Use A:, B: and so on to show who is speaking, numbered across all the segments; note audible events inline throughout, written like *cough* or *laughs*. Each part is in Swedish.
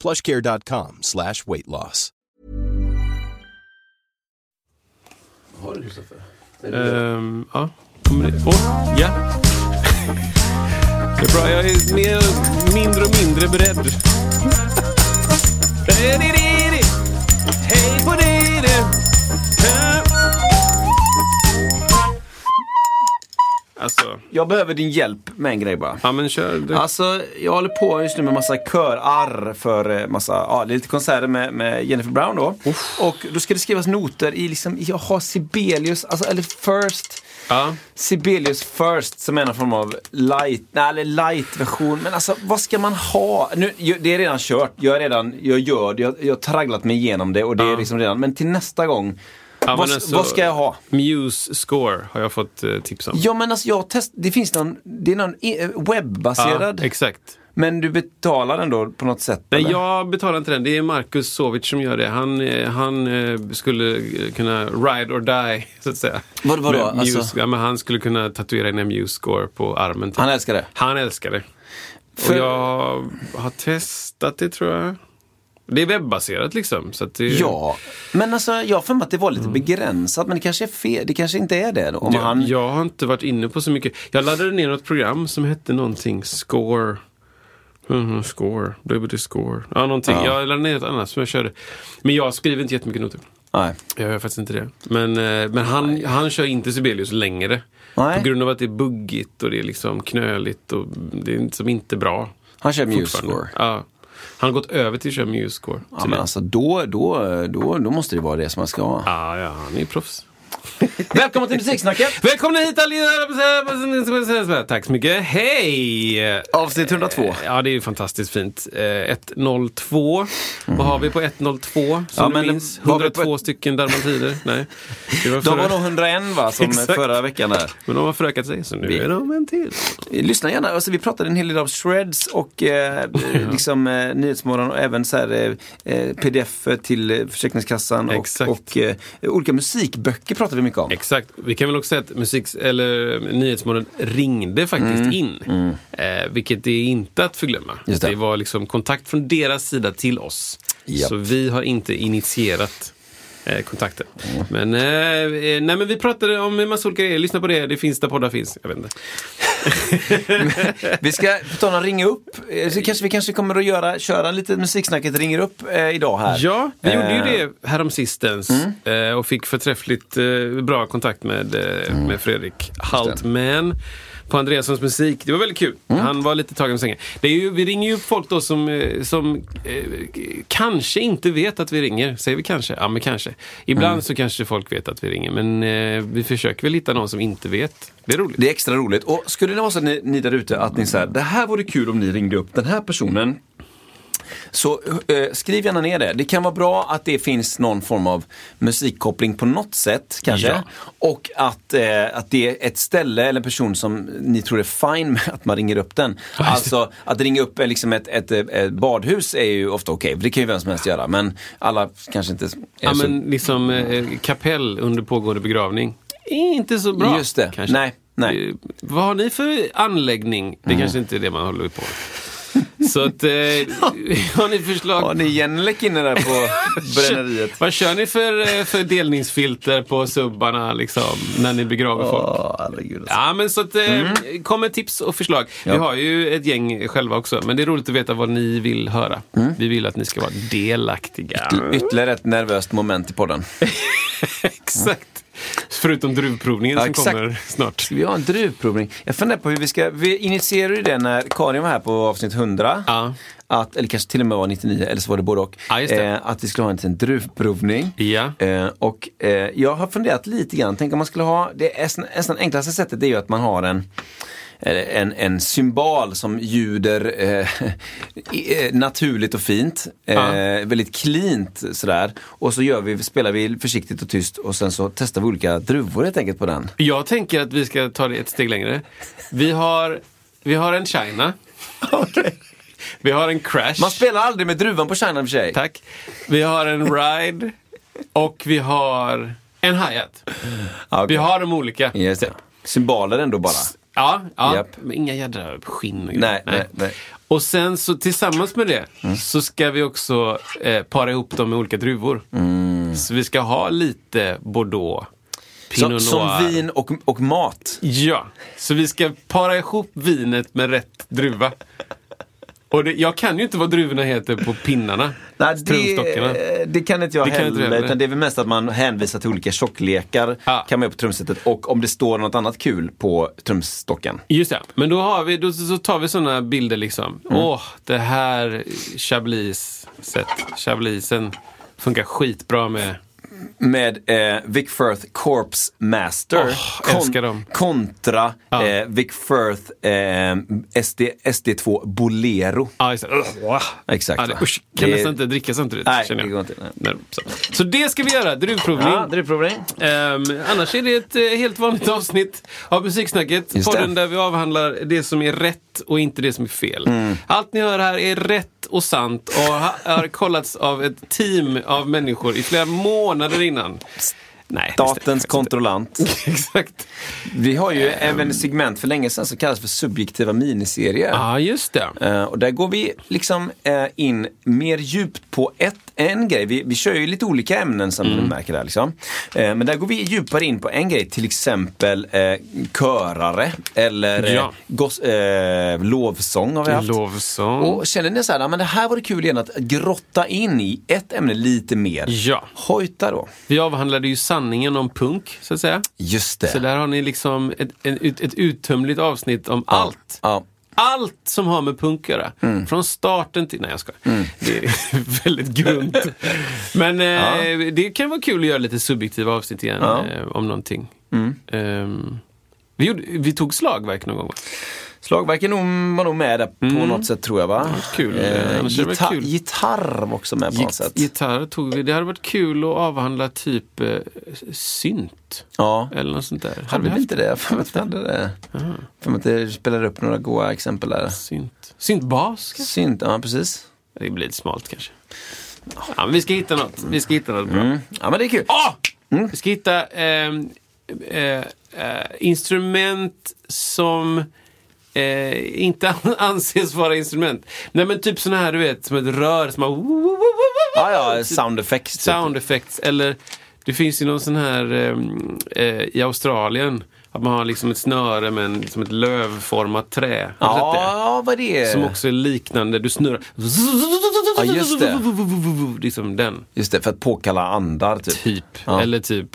A: Plushcare.com slash weight loss.
B: Har du Kristoffer?
C: Ehm, ja. Kommer det- Åh, ja. Det är bra, jag är mer, mindre och mindre beredd. Rödididi. Hej på dig du. Hä? Alltså,
B: Jag behöver din hjälp med en grej bara.
C: ja men kör. Du.
B: Alltså, jag håller på just nu med massa körarr för eh, massa, ja, det är lite konserter med, med Jennifer Brown då. Och då ska det skrivas noter i liksom, jag har Sibelius, alltså, eller First.
C: Ja.
B: Sibelius First som är någon form av light, nej, eller light-version. Men alltså, vad ska man ha? Nu, ju- det är redan kört, jag är redan, jag gör det, jag, jag har tragglat mig igenom det och det är liksom redan, men till nästa gång,
C: Ja,
B: vad,
C: men alltså,
B: vad ska jag ha?
C: Muse Score har jag fått eh, tips om.
B: Ja men alltså jag test, det finns någon, det är någon e- webbaserad.
C: exakt.
B: Men du betalar ändå på något sätt?
C: Nej,
B: eller?
C: jag betalar inte den. Det är Markus Sovic som gör det. Han, eh, han eh, skulle eh, kunna ride or die, så att säga.
B: Vad- vadå?
C: Med Muse,
B: Alltså-
C: ja, men han skulle kunna tatuera in en Muse-score på armen. typ.
B: Han älskar det?
C: Han älskar det.
B: För-
C: Och jag har testat det, tror jag. Det är webbaserat liksom. Så att det,
B: Ja, men alltså jag har för mig att det var
C: Mm.
B: lite begränsat, men det kanske är fel. Det kanske inte är det då. Om
C: jag,
B: han...
C: jag har inte varit inne på så mycket. Jag laddade ner något program som hette någonting Score. Mm, score, WD Score. Ja, någonting. Jag laddade ner ett annat som jag körde. Men jag skriver inte jättemycket noter.
B: Nej.
C: Jag gör faktiskt inte det. Men, eh, men han, han kör inte Sibelius längre.
B: Nej.
C: På grund av att det är buggigt och det är liksom knöligt och det är liksom inte bra.
B: Han kör
C: fortfarande.
B: Musescore.
C: Ja. Han har gått över till att köra Musescore.
B: Ja, men alltså då, då, då, då måste det vara det som man ska ha.
C: ja, ja, han är proffs.
B: *laughs* Välkommen till Musiksnacket!
C: Välkomna hit allihopa! Tack så mycket. Hej! Eh,
B: Avsnitt 102.
C: Ja, det är ju fantastiskt fint. Eh, 102. Vad har vi på 102? Som
B: Ja,
C: du
B: men
C: minns?
B: var vi på
C: 102 stycken Darmantider? Nej. Det var
B: De var
C: förra-
B: nog 101 va, som
C: *laughs* Exakt.
B: förra veckan där.
C: Men de har förökat sig, så nu är de en till.
B: Lyssna gärna, alltså, vi pratade en hel del om shreds
C: *laughs*
B: och eh, liksom, eh, Nyhetsmorgon och även så här, eh, eh, pdf till eh, Försäkringskassan och,
C: Exakt.
B: och eh, olika musikböcker pratade vi mycket om.
C: Exakt. Vi kan väl också säga att musik, eller, eh, Nyhetsmorgon ringde faktiskt in. Eh, vilket är inte att förglömma.
B: Mm. Just det.
C: var liksom kontakt från deras sida till oss.
B: Japp.
C: Så vi har inte initierat eh, kontakten.
B: Mm.
C: Men, eh, eh, nej, men vi pratade om en massa olika grejer. Lyssna på det. Det finns där poddar finns. Jag vet inte.
B: Vi ska på tal om ringa upp. eh, Så kanske, vi kanske kommer att göra, köra lite musiksnacket ringer upp eh, idag här.
C: Ja, vi gjorde ju
B: Eh, Mm.
C: det häromsistens eh, och fick förträffligt eh, bra kontakt med, eh, med Fredrik Haltman på Andreassons musik. Det var väldigt kul.
B: Mm.
C: Han var lite tagen på sängen. Det är ju, vi ringer ju upp folk då som, eh, som eh, kanske inte vet att vi ringer. Säger vi kanske? Ja, men kanske. Ibland
B: Mm.
C: så kanske folk vet att vi ringer, men eh, vi försöker väl hitta någon som inte vet. Det är roligt.
B: Det är extra roligt. Och skulle det vara så att ni, ni där ute att ni säger det här vore kul om ni ringde upp den här personen. Så eh, skriv gärna ner det. Det kan vara bra att det finns någon form av musikkoppling på något sätt kanske.
C: Ja.
B: Och att, eh, att det är ett ställe eller en person som ni tror är fine med att man ringer upp den. Alltså att ringa upp eh, liksom ett, ett, eh, ett badhus är ju ofta okej, för det kan ju vem som helst göra. Men alla kanske inte är
C: Ja,
B: så...
C: men liksom eh, kapell under pågående begravning. Är Inte så bra.
B: Just det.
C: kanske.
B: Nej, nej.
C: Eh, Vad har ni för anläggning? Det kanske inte är det man håller på med. Så att, eh, *laughs* har ni förslag?
B: Har ni Jennelek inne där
C: *laughs*
B: på bränneriet?
C: Vad kör ni för, eh, för delningsfilter på subbarna liksom, när ni begraver folk?
B: Åh, herregud. alltså.
C: Ja, men så att, eh, kom med tips och förslag. Vi har ju ett gäng själva också, men det är roligt att veta vad ni vill höra. Vi vill att ni ska vara delaktiga.
B: Ytterligare ett nervöst moment i podden.
C: *laughs* Exakt. Förutom druvprovningen
B: Ja,
C: som
B: exakt.
C: kommer snart.
B: Ska vi ha en druvprovning? Jag funderar på hur vi ska, vi initierade ju det när Karin var här på avsnitt 100.
C: Ja.
B: Att, eller kanske till och med var 99, eller så var det både och.
C: Ja, just det.
B: Eh, att vi skulle ha en liten druvprovning.
C: Ja.
B: Eh, och eh, jag har funderat lite grann, tänk om man skulle ha, det är nästan enklaste sättet det är ju att man har en eh, en, en symbol som ljuder eh, *laughs* i- eh, naturligt och fint. Eh,
C: Ja.
B: Väldigt cleant sådär. Och så gör vi, spelar vi försiktigt och tyst och sen så testar vi olika druvor helt enkelt på den.
C: Jag tänker att vi ska ta det ett steg längre. Vi har, vi har en China. Vi har en Crash.
B: Man spelar aldrig med druvan på China i och för sig.
C: Tack. Vi har en Ride. Och vi har en Hi-Hat.
B: Ja, okej.
C: Vi har de olika.
B: Yes. Symboler ändå bara.
C: Ja, ja.
B: Japp.
C: men inga jädra skinn och grejer.
B: Nej, nej, nej. Mm.
C: Och sen så tillsammans med det så ska vi också eh, para ihop dem med olika druvor. Så vi ska ha lite Bordeaux, Pinot
B: Mm. Som,
C: Noir.
B: som vin och, och mat.
C: Ja, så vi ska para ihop vinet med rätt druva. Och det, jag kan ju inte vad druvorna heter på pinnarna.
B: Nej,
C: Trumstockarna.
B: det, det kan inte
C: Alltså,
B: jag
C: Det kan
B: heller.
C: inte du heller.
B: Utan det är väl mest att man hänvisar till olika tjocklekar
C: Ja.
B: kan man göra på trumsetet och om det står något annat kul på trumstocken.
C: Just det, men då, har vi, då så tar vi sådana bilder liksom. Åh, det här chablis-set, chablisen funkar skitbra med...
B: Med eh, Vic Firth Corpse Master
C: Åh, älskar dem.
B: kontra
C: Ja.
B: eh, Vic Firth eh, SD, SD2 Bolero.
C: Ja, just det. Ugh, wow.
B: Exakt,
C: Ja, det,
B: va?
C: usch, kan
B: Det-
C: nästan inte dricka samtidigt.
B: Nej,
C: känner
B: det
C: jag.
B: går inte.
C: Nej,
B: Nej.
C: så. så det ska vi göra, druvprovning.
B: Ja, druvprovning.
C: Ehm, annars är det ett eh, helt vanligt avsnitt av Musiksnacket.
B: Just
C: podden
B: det.
C: där vi avhandlar det som är rätt och inte det som är fel.
B: Mm.
C: Allt ni hör här är rätt och sant och ha- har kollats av ett team av människor i flera månader innan. Nej, *laughs* det stämmer
B: Statens
C: faktiskt inte. Eh,
B: kontrollant.
C: *laughs* Exakt.
B: Vi har ju även ett segment för länge sedan som kallas för subjektiva miniserier.
C: Ja, just det.
B: Eh, och där går vi liksom eh, in mer djupt på ett, en grej. Vi, vi kör ju lite olika ämnen som
C: Mm.
B: du märker där. Liksom. Eh, men där går vi djupare in på en grej, till exempel eh, körare eller
C: Ja.
B: ja. gos, eh, lovsång har vi haft.
C: Lovsång.
B: Och känner ni så här, "Ja, men det här vore kul igen att grotta in i ett ämne lite mer.
C: Ja.
B: Hojta då.
C: Vi avhandlade ju sanningen om punk, så att säga.
B: Just det.
C: Så där har ni liksom ett, en- ut- ett uttömligt avsnitt om allt.
B: Ja. Mm.
C: Allt som har med punk att göra. Från starten till... Nej, jag skojar. Det är *laughs* väldigt grunt. Men eh, det kan vara kul att göra lite subjektiva avsnitt igen
B: Ja. Mm.
C: eh, om någonting. Ehm, vi, gjorde, vi tog slagverk någon gång. va?
B: Slagverken nog- var nog med där på något sätt tror jag va?
C: Mm. kul.
B: Eh,
C: Annars är det väl
B: gitar-
C: kul.
B: Gitarr var också med på något sätt.
C: Gitarr tog vi. Det hade varit kul att avhandla typ eh, synt.
B: Ja.
C: Eller något sånt där. Hade
B: Hade
C: vi
B: vi
C: haft
B: inte det? Jag för att vi hade det. För att det spelar upp några goa exempel där.
C: synt? Syntbas? kanske?
B: Synt, ja precis.
C: Det blir lite smalt kanske. Ja, men vi ska hitta något. Vi ska hitta något bra.
B: Mm. Ja men det är kul.
C: Ah!
B: Mm.
C: Vi ska hitta ehm, eh, eh, instrument som eh, inte an- *laughs* anses vara instrument. Nej men typ såna här du vet, som ett rör som man...
B: Ja, ja, sound effects. Typ.
C: Sound effects eller det finns ju någon sån här ehm, eh, i Australien. Att man har liksom ett snöre med en, som ett lövformat trä. Har du sett det?
B: Ja, vad det är.
C: Som också är liknande. Du snurrar.
B: Eh. Ja, just det.
C: Liksom den.
B: Just det, för att påkalla andar typ.
C: Typ.
B: Ja.
C: Eller typ.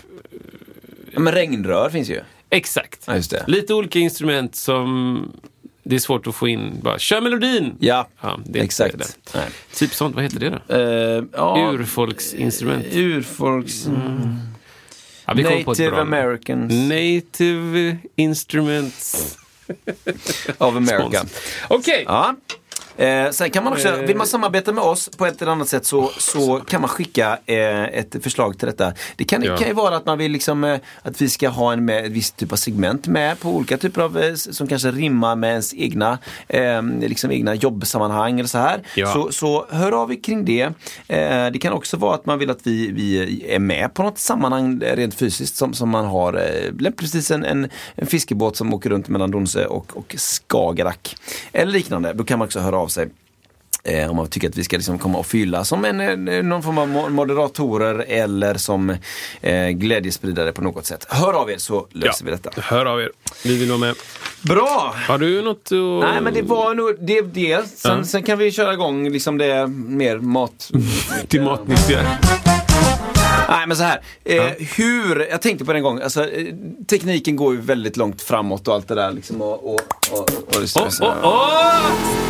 B: Ja, men regnrör finns ju.
C: Exakt.
B: Ja, just det.
C: Lite olika instrument som det är svårt att få in. Bara, kör melodin!
B: Ja,
C: Ja, det är
B: exakt.
C: inte det.
B: Nej.
C: Typ sånt. Vad heter det då?
B: Eh, ja,
C: Urfolksinstrument.
B: Urfolks...
C: Ja, vi kom på ett
B: Native
C: bra namn.
B: Americans
C: Native Instruments.
B: of America.
C: Spons. Okej.
B: Ja. Eh, sen kan man också, vill man samarbeta med oss på ett eller annat sätt så, så kan man skicka eh, ett förslag till detta. Det kan,
C: Ja.
B: kan ju vara att man vill liksom, eh, att vi ska ha en med, ett visst typ av segment med på olika typer av, eh, s- som kanske rimmar med ens egna, eh, liksom egna jobbsammanhang eller så här.
C: Ja.
B: Så, så hör av er kring det. Eh, det kan också vara att man vill att vi, vi är med på något sammanhang eh, rent fysiskt som, som man har, eh, precis en, en, en fiskebåt som åker runt mellan Donsö och, och Skagerrak. Eller liknande, då kan man också höra av sig. Eh, om man tycker att vi ska liksom komma och fylla som en, en, någon form av mo- moderatorer eller som eh, glädjespridare på något sätt. Hör av er så löser vi detta.
C: Hör av er. Vi vill vara med.
B: Bra!
C: Har du något att...
B: Nej men det var nog det. det. Sen, sen kan vi köra igång liksom det mer mat...
C: Till matnyttiga.
B: Nej men så här. Eh, Hur, jag tänkte på det en gång, alltså, eh, tekniken går ju väldigt långt framåt och allt det där liksom. Och, och, och, och det
C: Åh, åh, åh!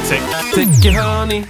C: Täcke, täcke, hörni.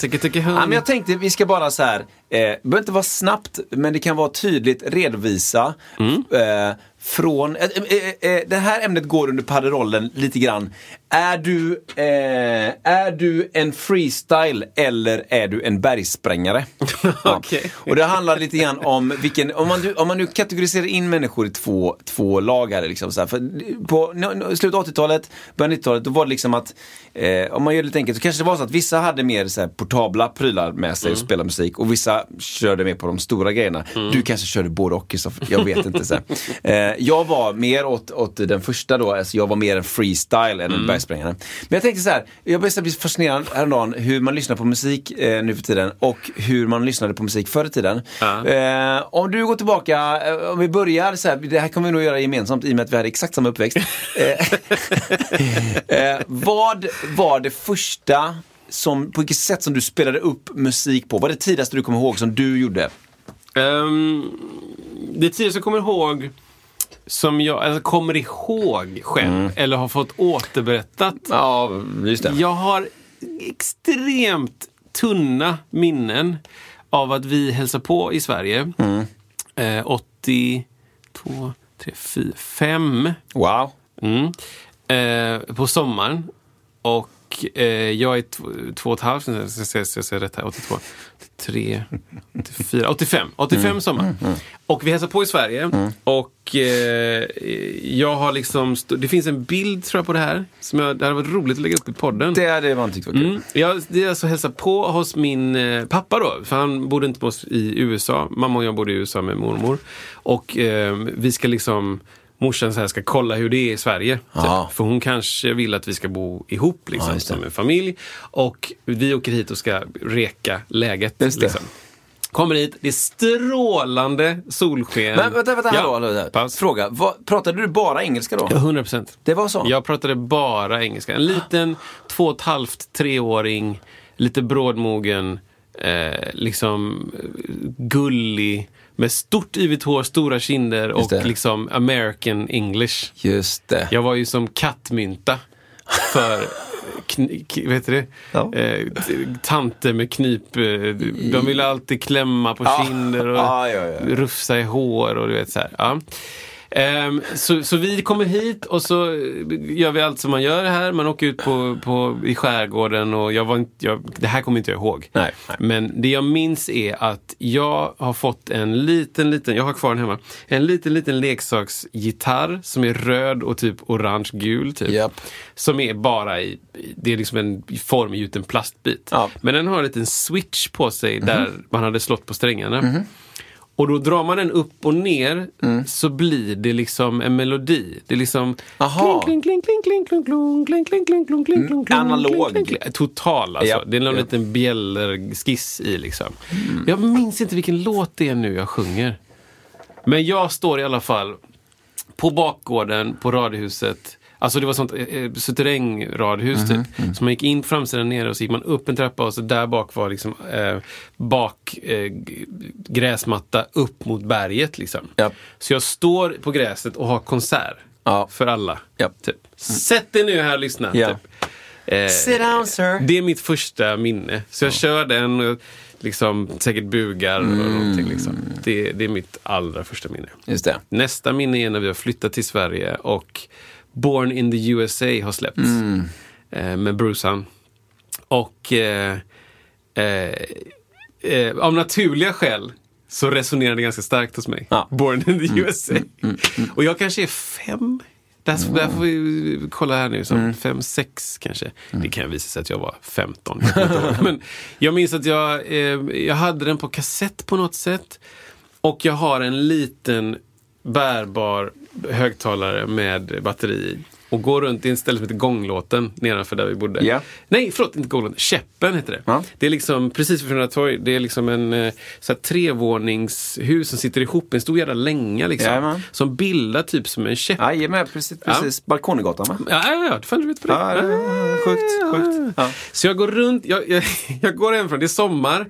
C: Täcke, täcke,
B: Ja, men
C: hörni.
B: jag tänkte vi ska bara så här eh, det behöver inte vara snabbt, men det kan vara tydligt, redovisa.
C: Mm.
B: Eh, från, eh, eh, eh, det här ämnet går under padderollen lite grann. Är du, eh, är du en freestyle eller är du
C: *laughs*
B: en bergsprängare? Ja.
C: Okej.
B: Och det handlar lite grann om vilken, om man, nu- om man nu kategoriserar in människor i två, två lag här. Liksom så här. För på no, no, slutet av 80-talet, början av 90-talet, då var det liksom att, eh, om man gör det lite enkelt, så kanske det var så att vissa hade mer så här, portabla prylar med sig och spelade musik och vissa körde mer på de stora grejerna. Du kanske körde både och Kristoffer, jag vet inte. Så här. Eh, jag var mer åt, åt den första då, alltså jag var mer en freestyle än en bergsprängare. Men jag tänkte så här, jag började bli fascinerad häromdagen hur man lyssnar på musik eh, nu för tiden och hur man lyssnade på musik förr i tiden.
C: Ja.
B: Eh, om du går tillbaka, eh, om vi börjar så här, det här kommer vi nog göra gemensamt i och med att vi hade exakt samma uppväxt. Eh, eh, vad var det första, som, på vilket sätt som du spelade upp musik på? Vad är det tidigaste du kommer ihåg som du gjorde?
C: Ehm, det tidigaste jag kommer ihåg som jag alltså, kommer ihåg själv eller har fått återberättat.
B: Mm. Ja, just det.
C: Jag har extremt tunna minnen av att vi hälsade på i Sverige.
B: Mm.
C: Eh, 82, 3, 4, 5.
B: Wow.
C: Mm. Eh, på sommaren. Och eh, jag är tv- två och ett halvt, jag ska se- ska jag säga rätt här, 82, 83, 84, 85. 85 sommar. Och vi hälsar på i Sverige. Och eh, jag har liksom, stå- det finns en bild tror jag på det här. Som jag, det hade varit roligt att lägga upp i podden.
B: Det hade man tyckt var kul.
C: Mm. Jag, det är alltså hälsa på hos min eh, pappa då, för han bodde inte med oss i USA. Mamma och jag bodde i USA med mormor. Och eh, vi ska liksom, morsan så här ska kolla hur det är i Sverige.
B: Ja.
C: Typ. För hon kanske vill att vi ska bo ihop liksom,
B: Ja, just det.
C: som en familj. Och vi åker hit och ska reka läget.
B: Just det.
C: Liksom. Kommer hit, det är strålande solsken.
B: Men vänta, vänta, hallå, hallå, där.
C: paus.
B: Fråga, vad, pratade du bara engelska då?
C: Ja, 100 procent.
B: Det var så?
C: Jag pratade bara engelska. En liten två och ett halvt, treåring, lite brådmogen, eh, liksom eh, gullig, med stort yvigt hår, stora kinder och
B: det.
C: liksom American English.
B: Just det.
C: Jag var ju som kattmynta för kn- k- vet du det?
B: Ja.
C: Eh, t- tanter med knyp. eh, De ville alltid klämma på
B: Ja.
C: kinder och
B: *laughs* Ja, ja, ja.
C: rufsa i hår och du vet så här. Ja. Ehm, så, så vi kommer hit och så gör vi allt som man gör här. Man åker ut på, på, i skärgården och jag var inte, jag, det här kommer inte jag ihåg.
B: Nej, nej.
C: Men det jag minns är att jag har fått en liten, liten, jag har kvar den hemma, en liten, liten leksaksgitarr som är röd och typ orange-gul. Typ,
B: Japp.
C: Som är bara i, i- det är liksom en formgjuten plastbit.
B: Ja.
C: Men den har en liten switch på sig där man hade slått på strängarna. Och då drar man den upp och ner så blir det liksom en melodi. Det är liksom...
B: Aha.
C: Kling, kling, kling, kling, kling, kling, kling, kling, kling, kling, kling, kling, kling,
B: analog.
C: kling, kling. Total alltså.
B: Ja,
C: Det är någon
B: ja.
C: liten bjällerskiss i liksom. Jag minns inte vilken låt det är nu jag sjunger. Men jag står i alla fall på bakgården på radhuset. Alltså det var sånt eh, eh, suterrängradhus
B: Mhm,
C: typ.
B: mm.
C: Så man gick in på framsidan nere och så gick man upp en trappa och så där bak var liksom eh, bak eh, g- gräsmatta upp mot berget liksom.
B: Japp.
C: Så jag står på gräset och har konsert
B: Ja.
C: för alla.
B: Japp.
C: Typ. Sätt er nu här och lyssna.
B: Ja.
C: Typ. Eh,
B: Sit down, sir.
C: Det är mitt första minne. Så jag kör den och liksom säkert bugar och någonting. Liksom. Det, det är mitt allra första minne.
B: Just det.
C: Nästa minne är när vi har flyttat till Sverige och Born in the USA har släppts eh, med Brucean. Och eh, eh, eh, av naturliga skäl så resonerar det ganska starkt hos mig.
B: Ja. Mm.
C: Born in the USA. Och jag kanske är fem. Där, mm. där får vi kolla här nu.
B: Mm.
C: Som Fem, sex kanske. Det kan visa sig att jag var 15. Jag kommer inte
B: *laughs*
C: ihåg. Men jag minns att jag, eh, jag hade den på kassett på något sätt. Och jag har en liten bärbar högtalare med batteri i. Och går runt i en ställe som heter Gånglåten nedanför där vi bodde.
B: Ja.
C: Nej, förlåt, inte Golden. Käppen heter det.
B: Ja.
C: Det är liksom precis vid Frölunda torg. Det är liksom en eh, så här, trevåningshus som sitter ihop i en stor jävla länga. Liksom,
B: Jajamän.
C: som bildar typ som en käpp. Ja,
B: Jajamän, precis. precis. Balkongatan va?
C: ja, ja, fan du vet på det.
B: Ja, ja, ja, sjukt, sjukt. Ja.
C: Så jag går runt, jag, *laughs* jag, jag går hemifrån, det är sommar.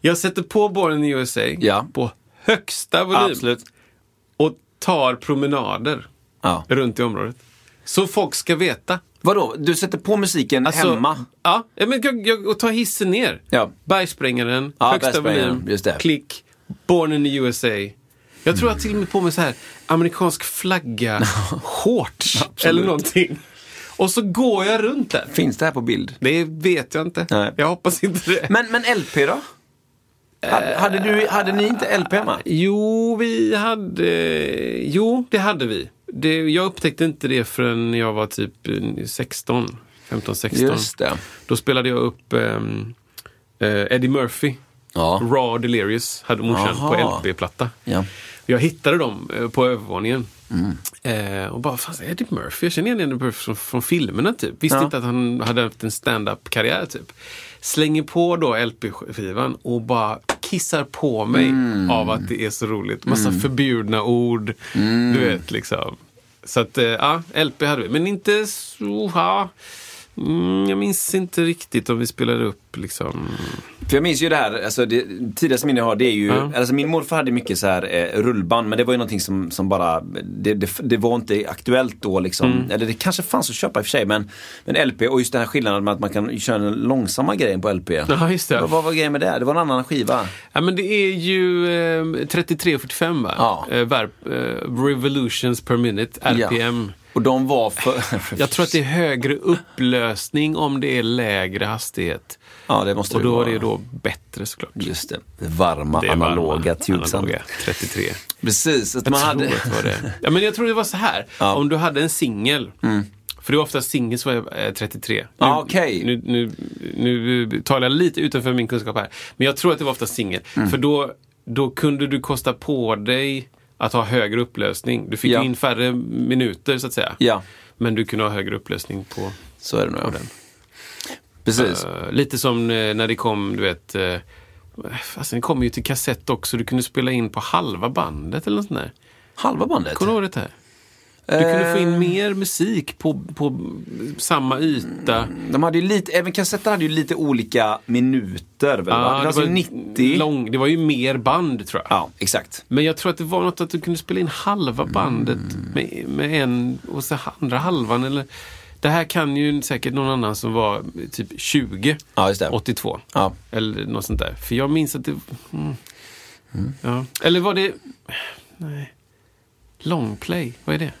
C: Jag sätter på Born in USA
B: Ja.
C: på högsta volym.
B: Absolut.
C: Och tar promenader
B: Ja.
C: runt i området. Så folk ska veta.
B: Vadå, du sätter på musiken
C: Alltså,
B: hemma?
C: Ja, ja, men jag, jag, och ta hissen ner.
B: Ja.
C: Bergsprängaren,
B: Ja,
C: högsta
B: Bergsprängaren,
C: volym,
B: just det.
C: klick, Born in the USA. Jag tror jag till och med på mig så här, amerikansk
B: *laughs*
C: flagga, shorts eller någonting. Och så går jag runt där.
B: Finns det här på bild?
C: Det vet jag inte.
B: Nej.
C: Jag hoppas inte det.
B: Men, men LP då? Hade, hade, du, hade ni inte LP hemma?
C: Jo, vi hade... Jo, det hade vi. Det, jag upptäckte inte det förrän jag var typ eh, 16. 15, 16.
B: Just det.
C: Då spelade jag upp ehm, eh, Eddie Murphy.
B: Ja.
C: Raw Delirious hade morsan
B: Aha.
C: på LP-platta.
B: Ja.
C: Jag hittade dem eh, på övervåningen. Eh, och bara, fan Eddie Murphy, jag känner igen Eddie Murphy från, från filmerna typ. Visste
B: Ja.
C: inte att han hade haft en stand-up-karriär typ. Slänger på då LP-skivan och bara kissar på mig av att det är så roligt. Massa förbjudna ord, du vet liksom. Så att, eh, ja, LP hade vi. Men inte så, ja. Mm, jag minns inte riktigt om vi spelade upp liksom.
B: För jag minns ju det här, alltså det tidigaste minne jag har det är ju,
C: Ja.
B: alltså min morfar hade mycket så här eh, rullband men det var ju någonting som, som bara, det, det, det var inte aktuellt då liksom.
C: Mm.
B: Eller det kanske fanns att köpa i och för sig men, men LP och just den här skillnaden med att man kan köra den långsamma grejen på LP.
C: Ja, just det.
B: Vad, vad var grejen med det? Det var en annan skiva.
C: Ja, men det är ju eh, 3345 va?
B: Ja.
C: Eh, verb, eh, revolutions per minute, RPM.
B: Och de var för...
C: *laughs* Jag tror att det är högre upplösning om det är lägre hastighet.
B: ja, det måste
C: Och då är det
B: vara.
C: ju då bättre såklart.
B: Just det, det varma
C: Det är
B: analoga
C: varma,
B: tubesen.
C: analoga, 33.
B: Precis, att
C: Jag
B: man
C: tror
B: hade...
C: att det var det. *laughs* Ja, men jag tror det var så här.
B: Ja. Mm.
C: Om du hade en singel. För det var ofta singel som var eh, 33. Nu,
B: Ja, okej.
C: nu, nu, nu talar jag lite utanför min kunskap här. Men jag tror att det var ofta singel.
B: Mm.
C: För då, då kunde du kosta på dig att ha högre upplösning. Du fick
B: Ja.
C: ju in färre minuter så att säga.
B: Ja,
C: Men du kunde ha högre upplösning på
B: *laughs* så är det nog. Precis.
C: Eh, lite som eh, när det kom, du vet, eh, fast det kom ju till kassett också. Du kunde spela in på halva bandet eller något sånt där.
B: Halva bandet.
C: Kommer du ihåg det här? Du kunde få
B: Eh.
C: in mer musik på, på samma yta.
B: De hade ju lite, även kassetter hade ju lite olika minuter. Väl,
C: Ja,
B: va? det fanns ju 90.
C: Ah, lång, det var ju mer band tror jag.
B: Ja, Mm. exakt.
C: Men jag tror att det var något att du kunde spela in halva bandet med, med en och så andra halvan. Eller, det här kan ju säkert någon annan som var typ 20,
B: Ja, just det.
C: 82.
B: Ja.
C: Eller något sånt där. För jag minns att det... Mm. Ja. Eller var det... Nej. Longplay, vad är det?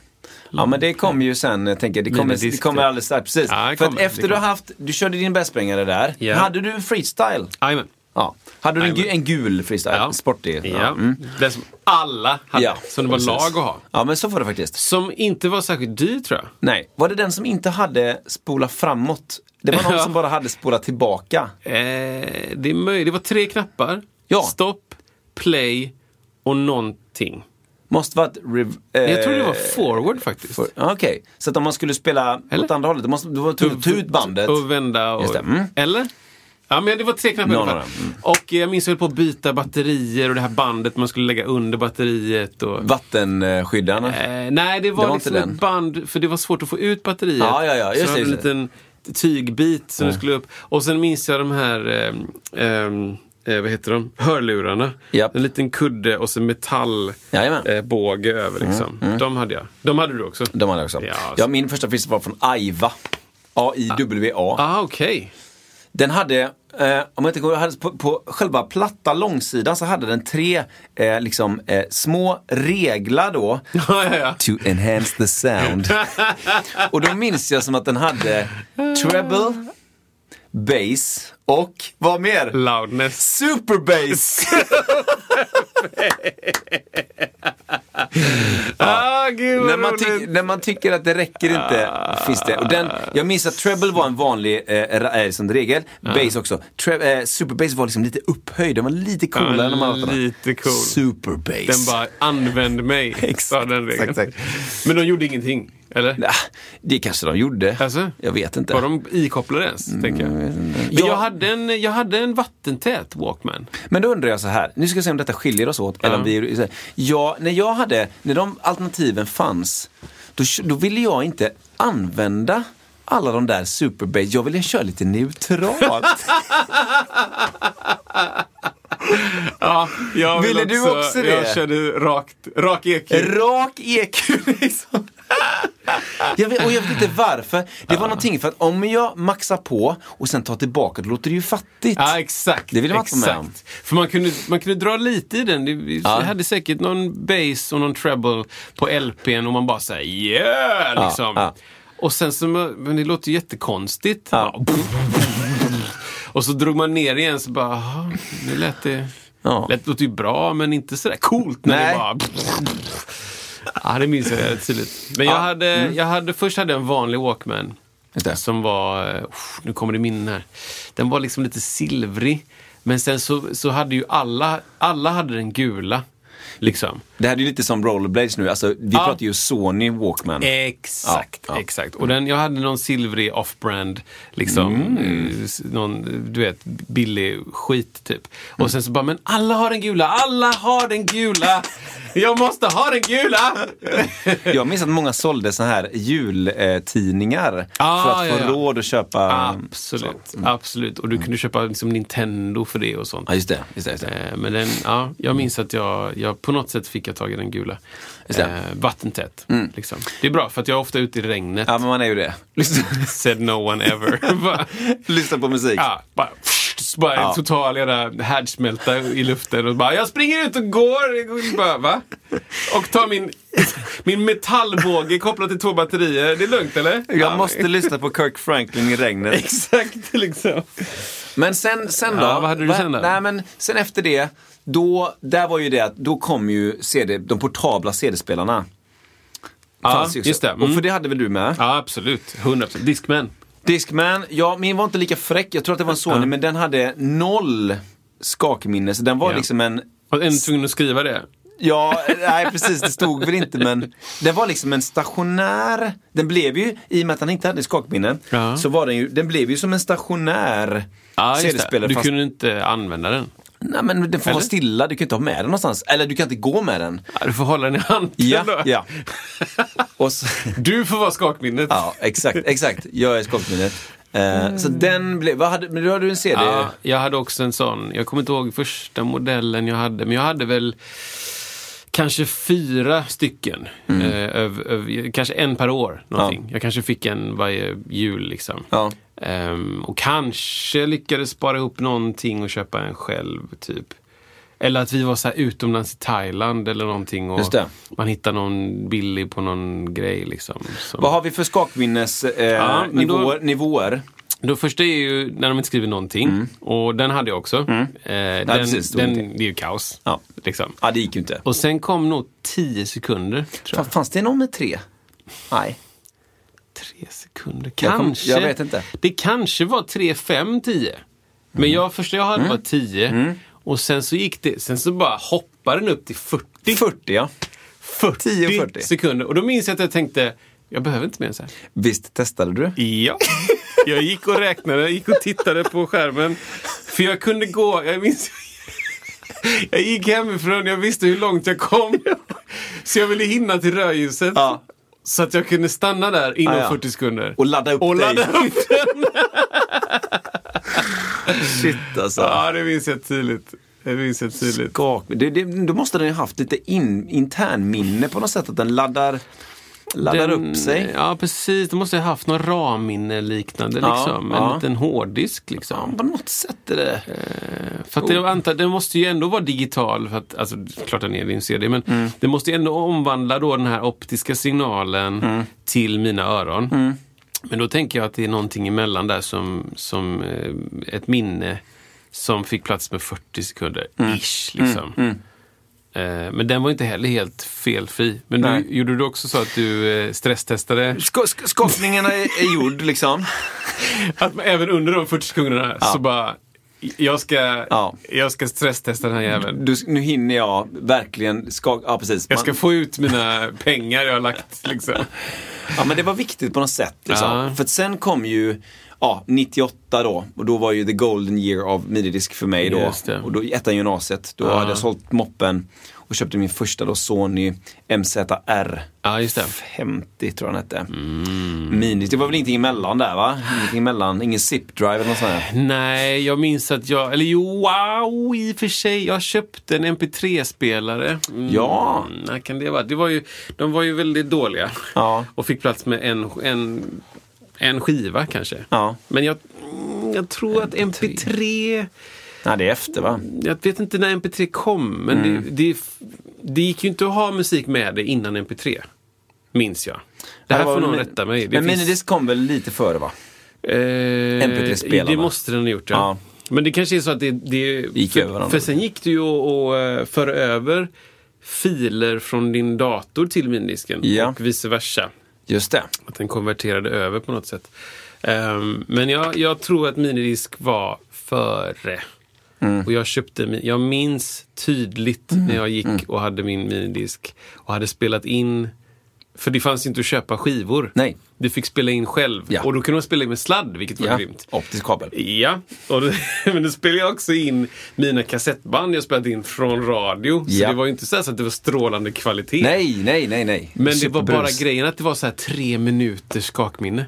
B: ja, men det kommer ju sen, jag tänker, det kommer,
C: Minidisk,
B: det kommer
C: ja.
B: alldeles strax. Precis.
C: typ. Ja, det
B: För att
C: kommer, det
B: efter du har
C: kommer.
B: haft, du körde din bästsprängare där.
C: Ja.
B: Hade du en freestyle?
C: Jajamän.
B: Ja. Hade du en,
C: Jajamän.
B: gu, en gul freestyle?
C: Ja.
B: Sportig? Mm.
C: Ja. Den som alla hade,
B: Ja,
C: som det var
B: precis.
C: lag att ha.
B: Ja, men så var det faktiskt.
C: Som inte var särskilt dyr tror jag.
B: Nej. Var det den som inte hade spola framåt? Det var
C: *laughs*
B: någon
C: Ja.
B: som bara hade spola tillbaka.
C: Eh, det är möjligt. Det var tre knappar.
B: Ja.
C: Stopp, play och någonting.
B: Måste varit... Rev, eh,
C: Jag tror det var forward faktiskt.
B: för- ja, Okej, så att om man skulle spela
C: Eller?
B: åt andra hållet, då måste du ta ut bandet.
C: Och vända och...
B: Just det, mm.
C: Eller? Ja, men det var tre knappar i
B: Någon
C: alla
B: av
C: fall.
B: dem, mm.
C: Och eh, jag minns jag höll på att byta batterier och det här bandet man skulle lägga under batteriet. Och...
B: Vattenskyddarna.
C: Eh, nej, det var,
B: Det var
C: liksom
B: inte
C: ett
B: den.
C: band, för det var svårt att få ut batteriet.
B: Ja, ja, ja,
C: så jag
B: just
C: hade
B: det,
C: en
B: just det. Mm.
C: liten tygbit som du skulle upp. Och sen minns jag de här, ehm, ehm, eh, vad heter de, hörlurarna.
B: Japp.
C: En liten kudde och så
B: Jajamän. Mm,
C: metallbåge eh, båge över liksom. De hade jag. De hade du också?
B: De hade jag också.
C: Ja,
B: Ja,
C: alltså.
B: min första frist var från AIWA. A-I-W-A.
C: Ah, okej. *laughs*
B: Den hade, eh, om jag inte kommer hade på, på själva platta långsidan så hade den tre eh, liksom, eh, små
C: *laughs*
B: reglar då.
C: ja, ja, ja.
B: To enhance the
C: *laughs*
B: sound. och då minns jag som att den hade treble, bass och vad mer?
C: Loudness. *laughs*
B: Superbass!
C: Ah, gud
B: när,
C: vad
B: man tyck-
C: roligt. Ah.
B: när man tycker att det räcker inte finns det. Och den, jag minns att treble var en vanlig eh, ra- eh, som regel. Bass också. Tre- eh, superbass var liksom lite upphöjd. Den var lite coolare
C: Ja,
B: än de andra.
C: lite cool.
B: Superbass.
C: Den bara, använd mig. sa den regeln.
B: *laughs* exakt, exakt.
C: Men de gjorde ingenting, eller?
B: Nah, Ah, det kanske de gjorde.
C: Alltså?
B: jag vet inte. Mm,
C: Var de ikopplade ens, tänker jag. Men
B: Ja.
C: jag, hade en, jag hade en vattentät Walkman.
B: Men då undrar jag så här. Nu ska jag se om detta skiljer oss åt. Eller om vi, så här. ja, när jag hade, när de alternativen fanns, då, kö- då ville jag inte använda alla de där superbass. Jag ville köra
C: *laughs*
B: lite neutralt.
C: Ja, jag vill
B: Ville du också det?
C: E Jag körde rakt, rak EQ.
B: Rak EQ E liksom. Jag vet, och jag vet inte varför. Det var någonting för att om jag maxar på och sen tar tillbaka, då låter det ju fattigt.
C: Ja, exakt.
B: Det vill man inte vara
C: exakt.
B: med om.
C: För man kunde, man kunde dra lite i den. Det, det hade säkert någon bass och någon treble på LPn och man bara säger yeah! Liksom.
B: ja.
C: Och sen så, men det låter ju jättekonstigt.
B: Ja.
C: Och så drog man ner igen så bara, "Jaha, nu lät det...
B: Ja.
C: Lät, låter ju bra, men inte sådär coolt när
B: Nej.
C: det bara... Ja, det minns jag väldigt tydligt. Men jag, hade, jag hade, först hade jag en vanlig Walkman.
B: Just det.
C: Som var, eh, uff, nu kommer det minnen här. Den var liksom lite silvrig. Men sen så, så hade ju alla, alla hade den gula. Liksom.
B: Det här är ju lite som rollerblades nu. Alltså, vi pratar ju Sony Walkman.
C: Exakt,
B: Ja, ja.
C: exakt. Och den, jag hade någon silvrig off-brand, liksom, eh, s- någon, eh, du vet, billig skit typ. Och sen så bara, men alla har den gula, alla har den gula! Jag måste ha den gula!
B: Jag minns att många sålde så här jultidningar
C: Ah,
B: för att
C: ja,
B: få
C: ja.
B: råd att köpa.
C: Absolut, Mm. absolut. Och du kunde köpa liksom, Nintendo för det och sånt.
B: Mm. Ja, just det. Just det, just det.
C: Eh, Men den, ja, jag minns att jag, jag på något sätt fick jag tag i den gula.
B: Just det. Mm.
C: Eh, vattentät. Liksom. Det är bra för att jag är ofta ute i regnet. *laughs* Liksom,
B: Ja, men man är ju det. Lyssna,
C: Said no one
B: *laughs*
C: ever. Bara-
B: lyssna på musik.
C: ja, bara, bara en total jävla härdsmälta i luften. Och bara, jag springer ut och går. Och, bara, va? och tar min, *laughs* min metallbåge kopplad till två batterier. Det är lugnt eller?
B: Jag måste lyssna på Kirk Franklin i
C: *laughs*
B: regnet.
C: Exakt liksom.
B: Men sen, sen då?
C: Ja, vad hade du sen då?
B: Nej, men sen efter det, då, där var ju det att då kom ju CD, de portabla CD-spelarna.
C: Ja,
B: Fanns ju också.
C: just det.
B: Och för
C: Mm.
B: det hade väl du med?
C: Ja, absolut. 100%. Discman.
B: Discman, ja, min var inte lika fräck. Jag tror att det var en Sony, men den hade noll skakminne. Så den var
C: Ja.
B: liksom en...
C: Var ändå tvungen att skriva det.
B: Ja, nej precis, det stod väl inte men den var liksom en stationär, den blev ju, i och med att han inte hade skakminne,
C: Ja.
B: så var den ju, den blev ju som en stationär
C: Ja, just det.
B: CD-spelare.
C: Du
B: fast-
C: kunde inte använda den.
B: Nej men den får vara
C: Eller?
B: stilla, du kan inte ha med den någonstans. Eller du kan inte gå med den.
C: Ja, du får hålla den i handen då.
B: Ja,
C: *laughs*
B: ja. Och så,
C: Du får vara skakminnet.
B: ja exakt, exakt. Jag är skakminnet. Eh, Så den blev, vad hade, men då hade du en CD?
C: Ja, jag hade också en sån. Jag kommer inte ihåg första modellen jag hade, men jag hade väl kanske fyra stycken.
B: Mm.
C: Eh, öv, öv, kanske en per år. Någonting. Jag kanske fick en varje jul. Liksom.
B: Ja.
C: Ehm, och kanske lyckades spara ihop någonting och köpa en själv. typ. Eller att vi var så här utomlands i Thailand eller någonting och
B: Just det.
C: man hittar någon billig på någon grej. Liksom, som-
B: Vad har vi för skakminnesnivåer? Eh,
C: Ja, men då-
B: nivåer, nivåer?
C: Då första är ju när de inte skriver någonting. Och den hade jag också. Eh, den,
B: Mm. precis, det var
C: den,
B: någonting.
C: det är ju kaos.
B: Ja.
C: Liksom.
B: Ja, det gick ju inte.
C: Och sen kom nog 10 sekunder. Tror jag.
B: Fan, fanns det någon med tre? Nej.
C: Tre sekunder,
B: Jag kom-
C: kanske.
B: jag vet inte. Mm.
C: Det kanske var 3, 5, 10. Men jag, första jag hade var 10. Och sen så gick det, sen så bara hoppade den upp till 40.
B: 40 ja. 10 och 40.
C: 40 sekunder. Och då minns jag att jag tänkte, jag behöver inte mer än så här.
B: Visst testade du?
C: Ja. Jag gick och räknade, jag gick och tittade på skärmen. För jag kunde gå, jag minns... Jag gick hemifrån, jag visste hur långt jag kom. Så jag ville hinna till rödljuset.
B: Ja.
C: Så att jag kunde stanna där inom
B: Ja, ja.
C: 40 sekunder.
B: Och ladda upp
C: och
B: dig.
C: ladda upp den.
B: Shit alltså.
C: Ja, det minns jag tydligt. Det minns jag tydligt.
B: Skak. Det, det, då måste den ju haft lite in, intern minne på något sätt, att den laddar, laddar upp sig.
C: Ja, precis. Du måste ha haft någon RAM-minne liknande.
B: Ja,
C: liksom. En
B: ja.
C: liten hårddisk liksom.
B: Ja, på något sätt är det...
C: För att det, jag
B: Oh.
C: antar, den måste ju ändå vara digital, för att, alltså klart den är din CD, men
B: Mm.
C: det måste ju ändå omvandla då den här optiska signalen
B: Mm.
C: till mina öron. Men då tänker jag att det är någonting emellan där som, som eh, ett minne som fick plats med 40 sekunder,
B: Mm.
C: ish liksom. Eh, Men den var inte heller helt felfri. Men
B: Nej.
C: du, gjorde du också så att du eh, stresstestade?
B: Sk- sk- Skakningen är, är gjord liksom.
C: Att man, även under de 40 sekunderna så bara, jag ska,
B: Ja.
C: jag ska stresstesta den här jäveln.
B: Du, nu hinner jag verkligen skaka... Ja, precis.
C: Jag ska
B: Man-
C: få ut mina pengar jag har lagt. Liksom.
B: ja, men det var viktigt på något sätt. Liksom.
C: Ja.
B: För att sen kom ju ja, 98 då, och då var ju the golden year av mididisk för mig då.
C: Just det.
B: Och då i ettan gymnasiet, då hade jag sålt moppen. och köpte min första då Sony MZR.
C: Ja, just det. Mm.
B: 50 tror jag den hette. Mini. Det var väl ingenting emellan där va? Ingenting emellan, ingen zip-drive eller något sånt där.
C: Nej, jag minns att jag, eller jo, wow, i och för sig. Jag köpte en MP3-spelare. Mm,
B: Ja.
C: När kan det vara? Det var ju, de var ju väldigt dåliga.
B: Ja.
C: Och fick plats med en, en, en skiva kanske.
B: Ja.
C: Men jag, mm, jag tror att MP3
B: Nej, det är efter va?
C: jag vet inte när MP3 kom, men det, det, det gick ju inte att ha musik med det innan MP3. Minns jag. Det här
B: var
C: får
B: väl
C: någon
B: min-
C: rätta mig. Det
B: Men
C: finns-
B: minidisk kom väl lite före va?
C: eh,
B: MP3-spelarna.
C: Det måste den ha gjort, ja.
B: Ja.
C: Men det kanske är så att det... det
B: Gick
C: för,
B: över varandra.
C: För sen gick det ju att att föra över filer från din dator till minidisken
B: Ja.
C: och vice versa.
B: Just det.
C: Att den konverterade över på något sätt. Ehm, men jag, jag tror att minidisk var före.
B: Mm.
C: Och jag köpte, min- jag minns tydligt när jag
B: Mm.
C: gick och hade min minidisk och hade spelat in. För det fanns ju inte att köpa skivor.
B: Nej.
C: Du fick spela in själv.
B: Ja.
C: Och då kunde man spela in med sladd, vilket var
B: Ja.
C: grymt.
B: Optisk kabel.
C: Ja, och då, *laughs* men då spelade jag också in mina kassettband jag spelat in från radio. Så
B: Ja.
C: det var ju inte så, här så att det var strålande kvalitet.
B: Nej, nej, nej, nej.
C: Men det var bara
B: Superbrus.
C: grejen att det var så här tre minuters skakminne.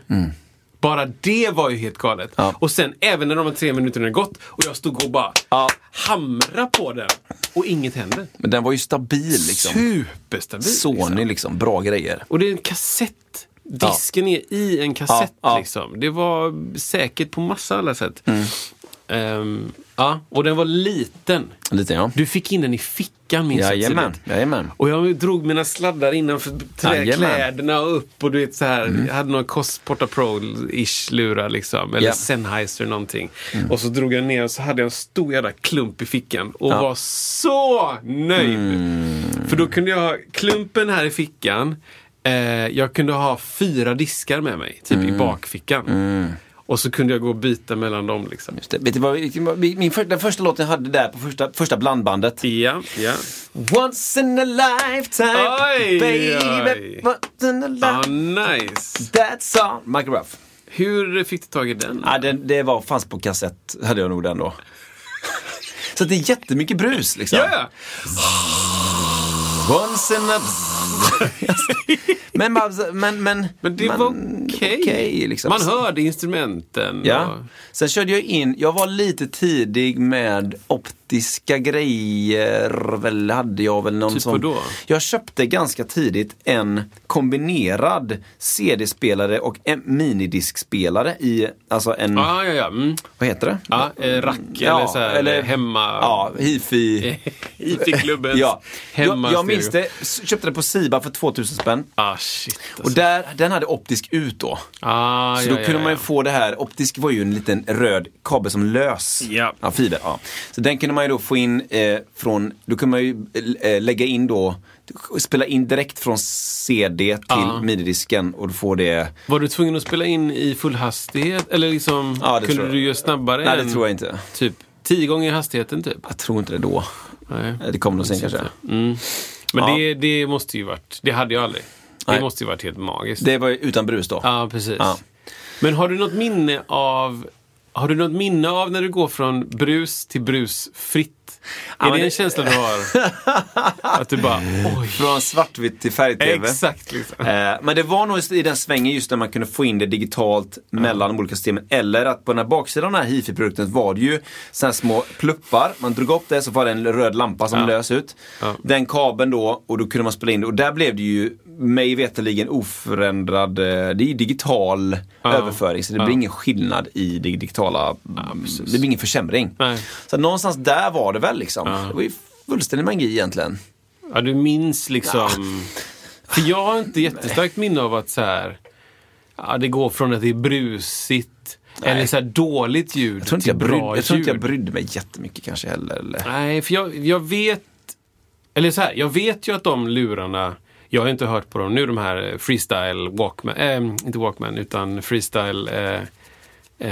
C: Bara det var ju helt galet.
B: Mm. Ja.
C: Och sen även när de här tre minuterna hade gått och jag stod och bara
B: Ja.
C: hamra på den och inget hände.
B: Men den var ju stabil liksom.
C: Superstabil. liksom.
B: Sony liksom, bra grejer.
C: Och det är en kassett. Disken är i en kassett
B: Ja, Mm. ja.
C: liksom. Det var säkert på massa alla sätt. Ehm, ja, och den var liten.
B: Lite ja.
C: Du fick in den i fickan minns jag
B: Jajamän,
C: tidigt.
B: jajamän.
C: Och jag drog mina sladdar innanför trä-
B: Jajamän. Mm.
C: kläderna och upp och du vet så här. Jag hade några Cosporta Pro-ish lurar liksom. Eller
B: Ja. Mm.
C: Sennheiser någonting. Och så drog jag ner och så hade jag en stor jävla klump i fickan. Och var så nöjd.
B: Mm.
C: För då kunde jag ha klumpen här i fickan. Eh, jag kunde ha fyra diskar med mig. Typ
B: Mm.
C: i bakfickan. Och så kunde jag gå och byta mellan dem liksom.
B: Just det. Vet du vad, vilken var- min för, den första låten jag hade där på första, första blandbandet.
C: Ja, ja.
B: Once in a lifetime,
C: Oj,
B: baby.
C: oj.
B: Once in a
C: Ah,
B: lifetime.
C: nice.
B: That's all. Michael Ruff.
C: Hur fick du tag i den?
B: Ja, den, det var, fanns på kassett, hade jag nog den då. *laughs* Så att det är jättemycket brus liksom.
C: Ja, ja.
B: Once in a... *laughs* men, men, men,
C: Men det
B: men-
C: var okej.
B: okej, liksom.
C: Man hörde instrumenten.
B: Ja.
C: och-
B: Sen körde jag in, jag var lite tidig med optiska grejer, väl, hade jag väl någon
C: Typ
B: sån.
C: vadå?
B: Jag köpte ganska tidigt en kombinerad CD-spelare och en minidiskspelare i, alltså en,
C: Ja, ja, ja. Mm.
B: vad heter det?
C: ja eh, rack eller så här, eh, hemma... *laughs*
B: Ja, hifi.
C: IT-klubbens
B: ja.
C: hemma
B: jag, jag minns det, S- köpte det på Siba för 2000 spänn.
C: Ah, shit. Alltså.
B: Och där, den hade optisk ut då.
C: ah,
B: Så
C: ja,
B: då
C: ja,
B: kunde man ju
C: ja.
B: få det här, optisk var ju en liten röd kabel som lös.
C: Ja.
B: fiber. Ja. Så den kunde man ju då få in eh, från, då kunde man ju eh, lägga in då, spela in direkt från CD till
C: Ja.
B: mididisken och du får det.
C: Var du tvungen att spela in i full hastighet? Eller liksom,
B: Ja, det tror
C: kunde
B: jag.
C: du göra snabbare?
B: Nej det
C: än
B: tror jag inte.
C: Typ tio gånger hastigheten, typ?
B: Jag tror inte det då.
C: Nej.
B: Eh, Det kommer nog sen kanske.
C: Men
B: Ja.
C: det, det måste ju varit... Det hade jag aldrig. Det
B: Nej.
C: måste ju varit helt magiskt.
B: Det var ju utan brus då.
C: Ja, precis.
B: Ja.
C: Men har du något minne av har du något minne av när du går från brus till brusfritt? är det
B: men
C: en
B: det-
C: känsla du har?
B: *laughs*
C: att du bara, oj.
B: Från svartvitt till färg-tv.
C: Exakt liksom.
B: Eh, Men det var nog just i den svängen just när man kunde få in det digitalt mellan de olika systemen. Eller att på den här baksidan av den här hifi-produkten var det ju såna här små pluppar. Man drog upp det så var det en röd lampa som lös ut.
C: Ja.
B: Den kabeln då och då kunde man spela in det. Och där blev det ju mig veterligen oförändrad. eh, Det är ju digital överföring så det blir ingen skillnad i det digitala. det blir ingen försämring.
C: Nej.
B: Så någonstans där var det väl liksom. Det var ju fullständig magi egentligen.
C: Ja, du minns liksom. För jag har inte jättestarkt minne av att så här, ja, det går från att det är brusigt eller så här dåligt ljud
B: Jag tror, inte jag,
C: till
B: brydde,
C: Typ bra
B: jag tror inte jag
C: ljud.
B: brydde mig jättemycket kanske heller. Eller?
C: Nej, för jag, jag vet... Eller så här, jag vet ju att de lurarna... Jag har inte hört på dem nu, de här eh, freestyle Walkman. Eh, inte Walkman, utan freestyle... Eh,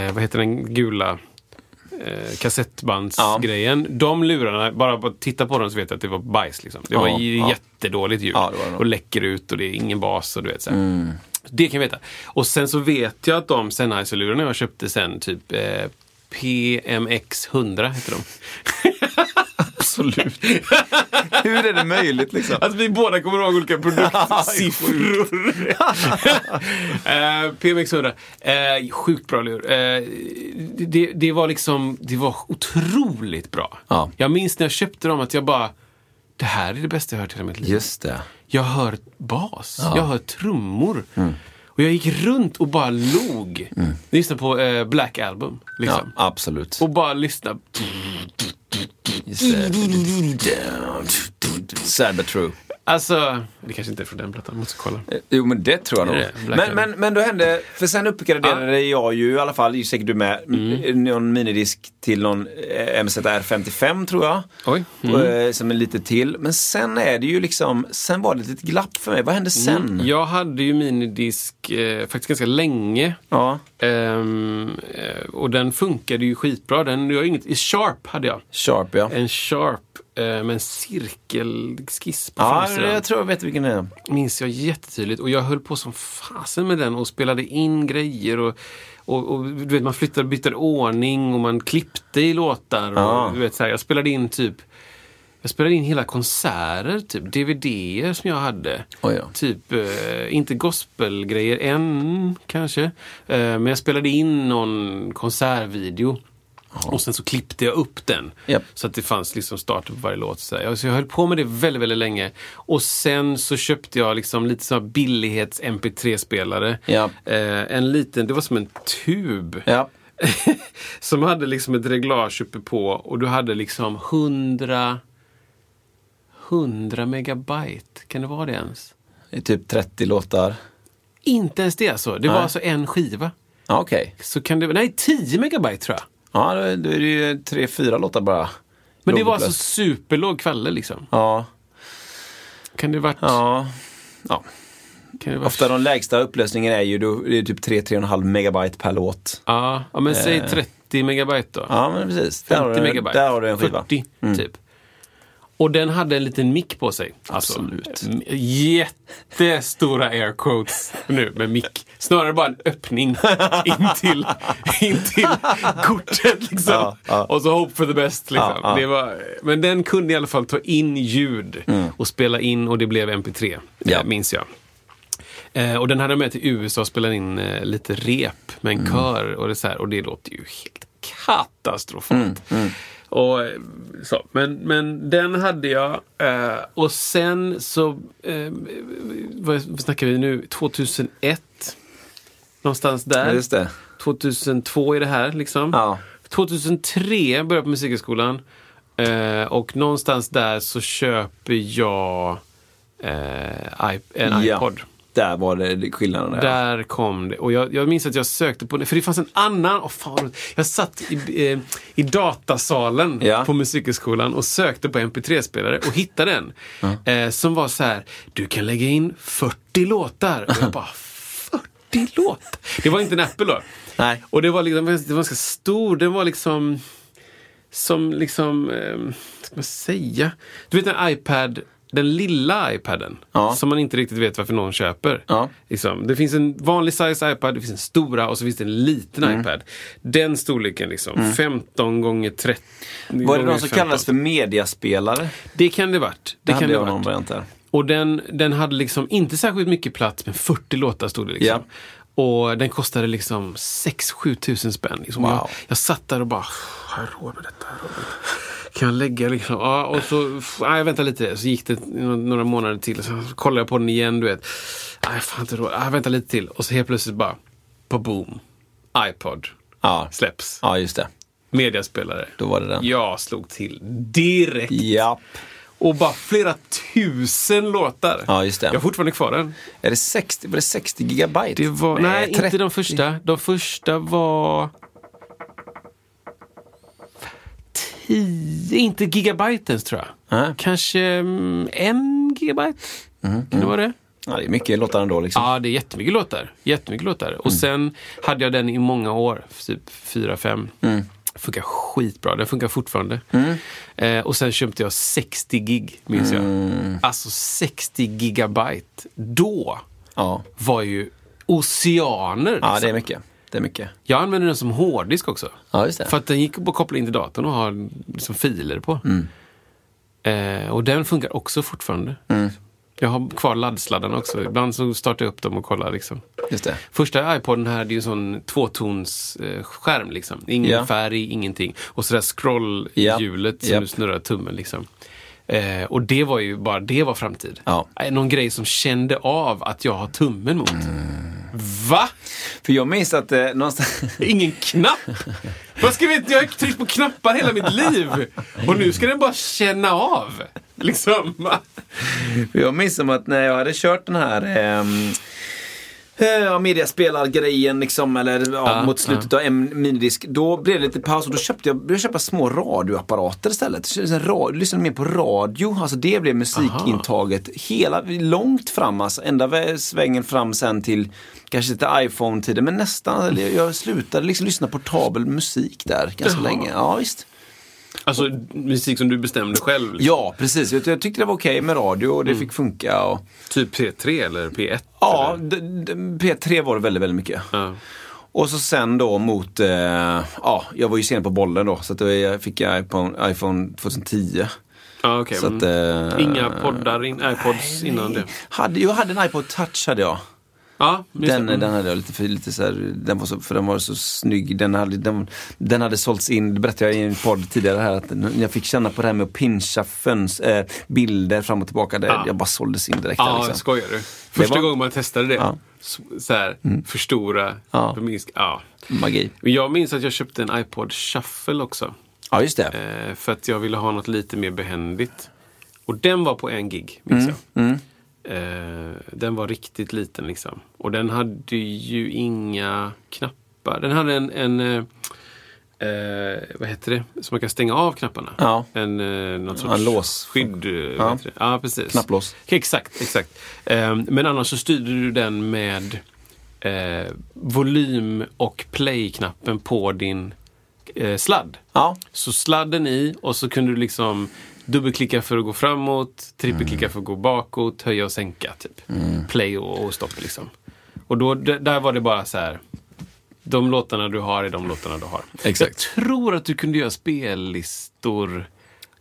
C: eh, vad heter den gula? Eh, kassettbandsgrejen. De lurarna, bara bara titta på dem så vet jag att det var bajs. Liksom. Det var
B: Ja,
C: ju
B: ja.
C: jättedåligt ljud.
B: Ja, det var det nog. Mm.
C: och läcker ut och det är ingen bas och du vet så här. Det kan jag veta. Och sen så vet jag att de Sennheiser-lurarna jag köpte sen, typ eh, PMX 100 heter de.
B: Absolut. *laughs* Hur är det möjligt liksom?
C: Att vi båda kommer ihåg olika produktsiffror. *laughs* eh, PMX100. Eh, sjukt bra lur. Eh, det, det var liksom, det var otroligt bra.
B: Ja.
C: Jag minns när jag köpte dem att jag bara, det här är det bästa jag hört i hela mitt liv.
B: Just det.
C: Jag hör bas, jag hör trummor. Och jag gick runt och bara log. Mm. Lyssnade på eh, Black Album.
B: Ja,
C: Liksom.
B: absolut.
C: Och bara lyssnade.
B: Just det. Sad but true.
C: Alltså, det kanske inte är från den plattan, måste kolla.
B: Eh, Jo men det tror jag nog.
C: Det är det. Black
B: Men,
C: Album.
B: men, men då hände, för sen uppgraderade jag ju i alla fall, det är ju säkert du med, mm. någon minidisk till någon eh, MZR 55 tror jag.
C: Oj.
B: Och, eh, som är lite till. Men sen är det ju liksom, sen var det ett litet glapp för mig. Vad hände sen?
C: Jag hade ju minidisk eh, faktiskt ganska länge.
B: Ja.
C: Ehm, eh, och den funkade ju skitbra. Den, jag har inget, i Sharp hade jag.
B: Sharp ja.
C: En Sharp eh, med en cirkelskiss på
B: Ja,
C: framsidan.
B: jag tror jag vet vilken det är.
C: minns jag jättetydligt. Och jag höll på som fasen med den och spelade in grejer. Och, och, och du vet, man flyttade, bytte ordning och man klippte i låtar.
B: Ja.
C: Och, du vet, så här, jag spelade in typ jag spelade in hela konserter, typ DVDer som jag hade.
B: Oj då.
C: Typ, eh, inte gospelgrejer än kanske. Eh, men jag spelade in någon konsertvideo. Och sen så klippte jag upp den.
B: Japp.
C: Så att det fanns liksom starten på varje låt. Så, här. så jag höll på med det väldigt, väldigt länge. Och sen så köpte jag liksom lite sån här billighets MP3-spelare.
B: Japp.
C: Eh, en liten, det var som en tub. *laughs*
B: Ja.
C: som hade liksom ett reglage uppe på och du hade liksom 100 100 megabyte, kan det vara det ens?
B: Det är typ 30 låtar.
C: Inte ens det alltså. Det var
B: Nej.
C: alltså en skiva.
B: Ja, okej.
C: Så kan det, nej, 10 megabyte tror jag.
B: Ja, då är då är det ju tre, fyra låtar bara.
C: Men det
B: Låg
C: var
B: upplöst.
C: alltså superlåg kvalle liksom.
B: Ja,
C: Kan det varit...
B: ja. ja.
C: Kan det varit
B: Ofta de lägsta upplösningen är ju då, det är typ 3-3,5 megabyte per låt.
C: ja, ja, men säg 30 megabyte då.
B: Eh. Ja, men precis. Där har
C: 50
B: du,
C: megabyte.
B: Där har du en skiva. Mm.
C: 40, typ. Och den hade en liten mick på sig. alltså.
B: Absolut.
C: m- Mm, Jättestora air quotes nu med mick. Snarare bara en öppning in till, in till kortet. Liksom.
B: Ja, ja.
C: Och så hope for the best. Liksom.
B: Ja, ja.
C: Det var, men den kunde i alla fall ta in ljud och spela in och det blev MP3,
B: Mm. Ja.
C: ja. minns jag. Eh, och den hade jag med till USA och spelade in eh, lite rep med en
B: Mm.
C: kör och det, så här, och det låter ju helt katastrofalt.
B: Mm,
C: Och, eh, så. Men, men den hade jag eh, och sen så, eh, vad vad snackar vi nu, 2001? Någonstans
B: Ja,
C: där.
B: Just det.
C: 2002 är det här liksom.
B: Ja.
C: 2003 började jag på Musikhögskolan. Eh, och någonstans där så köper jag eh, iP- en iPod.
B: Ja. Där var det det- skillnaden. Där.
C: Där kom det. Och jag, jag minns att jag sökte på det, för det fanns en annan. Oh, fan, jag satt i, eh, i datasalen
B: Ja.
C: på Musikhögskolan och sökte på MP3-spelare och hittade en. Eh, som var så här, du kan lägga in 40 låtar. Och jag bara, 40 låtar? Det var inte en Apple då.
B: Nej.
C: Och det var, liksom, det var ganska stor, den var liksom som liksom, eh, vad ska man säga? Du vet en iPad, den lilla iPaden.
B: Ja.
C: Som man inte riktigt vet varför någon köper.
B: Ja.
C: Liksom, det finns en vanlig size iPad, det finns en stora och så finns det en liten
B: Mm.
C: iPad. Den storleken liksom, 15 gånger 30.
B: Var Mm. det de som kallades för mediaspelare?
C: Det kan det varit. Det kan
B: hade
C: det
B: jag någon
C: varit.
B: variant där.
C: Och den, den hade liksom inte särskilt mycket plats, men 40 låtar stod det liksom.
B: Ja.
C: Och den kostade liksom 6-7 tusen spänn. Liksom.
B: Wow.
C: Jag, jag satt där och bara, har jag råd med detta? Har jag råd med detta? Kan jag lägga liksom? Ja, och så, f- nej vänta lite. Så gick det no- några månader till. Så kollade jag på den igen, du vet. Nej, fan inte råd. Nej, vänta lite till. Och så helt plötsligt bara, på boom. iPod
B: Ja.
C: släpps.
B: ja, just det.
C: Mediaspelare.
B: Då var det den.
C: Jag slog till direkt.
B: Japp.
C: Och bara flera tusen låtar.
B: Ja, just det.
C: Jag har fortfarande kvar den.
B: Är det 60, var det 60 gigabyte?
C: Det var, nej, inte
B: 30.
C: de första. De första var... Tio, inte gigabyte ens tror jag.
B: Nej. Mm,
C: Kanske mm, en gigabyte? kan det vara det?
B: Ja, det är mycket låtar ändå liksom.
C: Ja, det är jättemycket låtar. Jättemycket låtar.
B: Mm.
C: Och sen hade jag den i många år, typ fyra fem.
B: Mm.
C: Funkar skitbra, den funkar fortfarande. Eh, och sen köpte jag 60 gig, minns
B: Mm.
C: jag. Alltså 60 gigabyte. Då
B: Ja,
C: var ju oceaner.
B: ja
C: liksom.
B: det är mycket. Det är mycket.
C: Jag använde den som hårddisk också.
B: Ja, just det. Mm.
C: För att den gick att koppla in till datorn och ha liksom, filer på. Eh, och den funkar också fortfarande.
B: Mm.
C: Jag har kvar laddsladdarna också. Ibland så startar jag upp dem och kollar. Liksom.
B: Just det.
C: Första iPoden här, det är ju en sån tvåtonsskärm. Liksom. Ingen
B: Ja.
C: färg, ingenting. Och så där
B: Ja.
C: scrollhjulet som
B: Japp.
C: du snurrar tummen. Liksom. Eh, och det var ju bara, det var framtid.
B: Ja.
C: Eh, Någon grej som kände av att jag har tummen mot. Va?
B: För jag minns att eh, någonstans... *laughs*
C: Ingen knapp? Vad ska vi, jag har tryckt på knappar hela mitt liv. Och nu ska den bara känna av. Liksom.
B: För Jag minns som att när jag hade kört den här ehm, eh, Ja, mediaspelargrejen liksom, eller ja,
C: Ja,
B: mot slutet av en minidisk. Då blev det lite paus och då köpte jag, började jag köpa små radioapparater istället. Så liksom ra- lyssnade mer på radio. Alltså det blev musikintaget hela, långt fram alltså. Ända vä- svängen fram sen till kanske inte iPhone-tiden men nästan. Eller Jag, jag slutade liksom lyssna på portabel musik där ganska länge. Ja, visst.
C: Alltså musik som du bestämde själv. liksom.
B: Ja, precis. Jag, jag tyckte det var okej med radio och
C: Mm.
B: det fick funka. Och...
C: Typ P3 eller P1?
B: Ja,
C: eller?
B: d- d- P3 var det väldigt, väldigt mycket.
C: Ja.
B: Och så sen då mot, eh, ja, jag var ju sen på bollen då, så att då jag fick jag iPhone, iPhone 2010.
C: Ja, okej.
B: Så att,
C: Mm.
B: eh,
C: Inga poddar, in, iPods innan det.
B: Hade, jag hade en iPod touch hade jag.
C: Ja, just
B: Den,
C: det. Mm.
B: den hade jag lite, för, lite så här, den var så, för den var så snygg. Den hade, den, den hade sålts in, det berättade jag i en podd tidigare här, att n- jag fick känna på det här med att pincha föns, eh, bilder fram och tillbaka. Det,
C: Ja.
B: Jag bara såldes in direkt. där,
C: Ja,
B: liksom.
C: skojar du? Första
B: var-
C: gången man testade det.
B: Ja. Mm.
C: Så, så här, förstora,
B: Ja.
C: förminska. Ja.
B: Magi.
C: Men Jag minns att jag köpte en iPod Shuffle också.
B: Ja, just det.
C: Eh, för att jag ville ha något lite mer behändigt. Och den var på en gig, minns
B: Mm,
C: jag. Eh, den var riktigt liten liksom. Och den hade ju inga knappar. Den hade en, en eh, eh, vad heter det, som man kan stänga av knapparna.
B: Ja.
C: En, eh, någon sorts
B: Ja, en lås.
C: skydd. eh, vad
B: Ja.
C: heter det? ja, precis.
B: Knapplås.
C: Exakt, exakt. Eh, men annars så styrde du den med eh, volym och play-knappen på din eh, sladd.
B: Ja,
C: Så sladden i och så kunde du liksom dubbelklicka för att gå framåt, trippelklicka
B: Mm.
C: för att gå bakåt, höja och sänka. Typ. Play och, och stopp liksom. Och då, d- där var det bara så här. De låtarna du har är de låtarna du har.
B: Exakt.
C: Jag tror att du kunde göra spellistor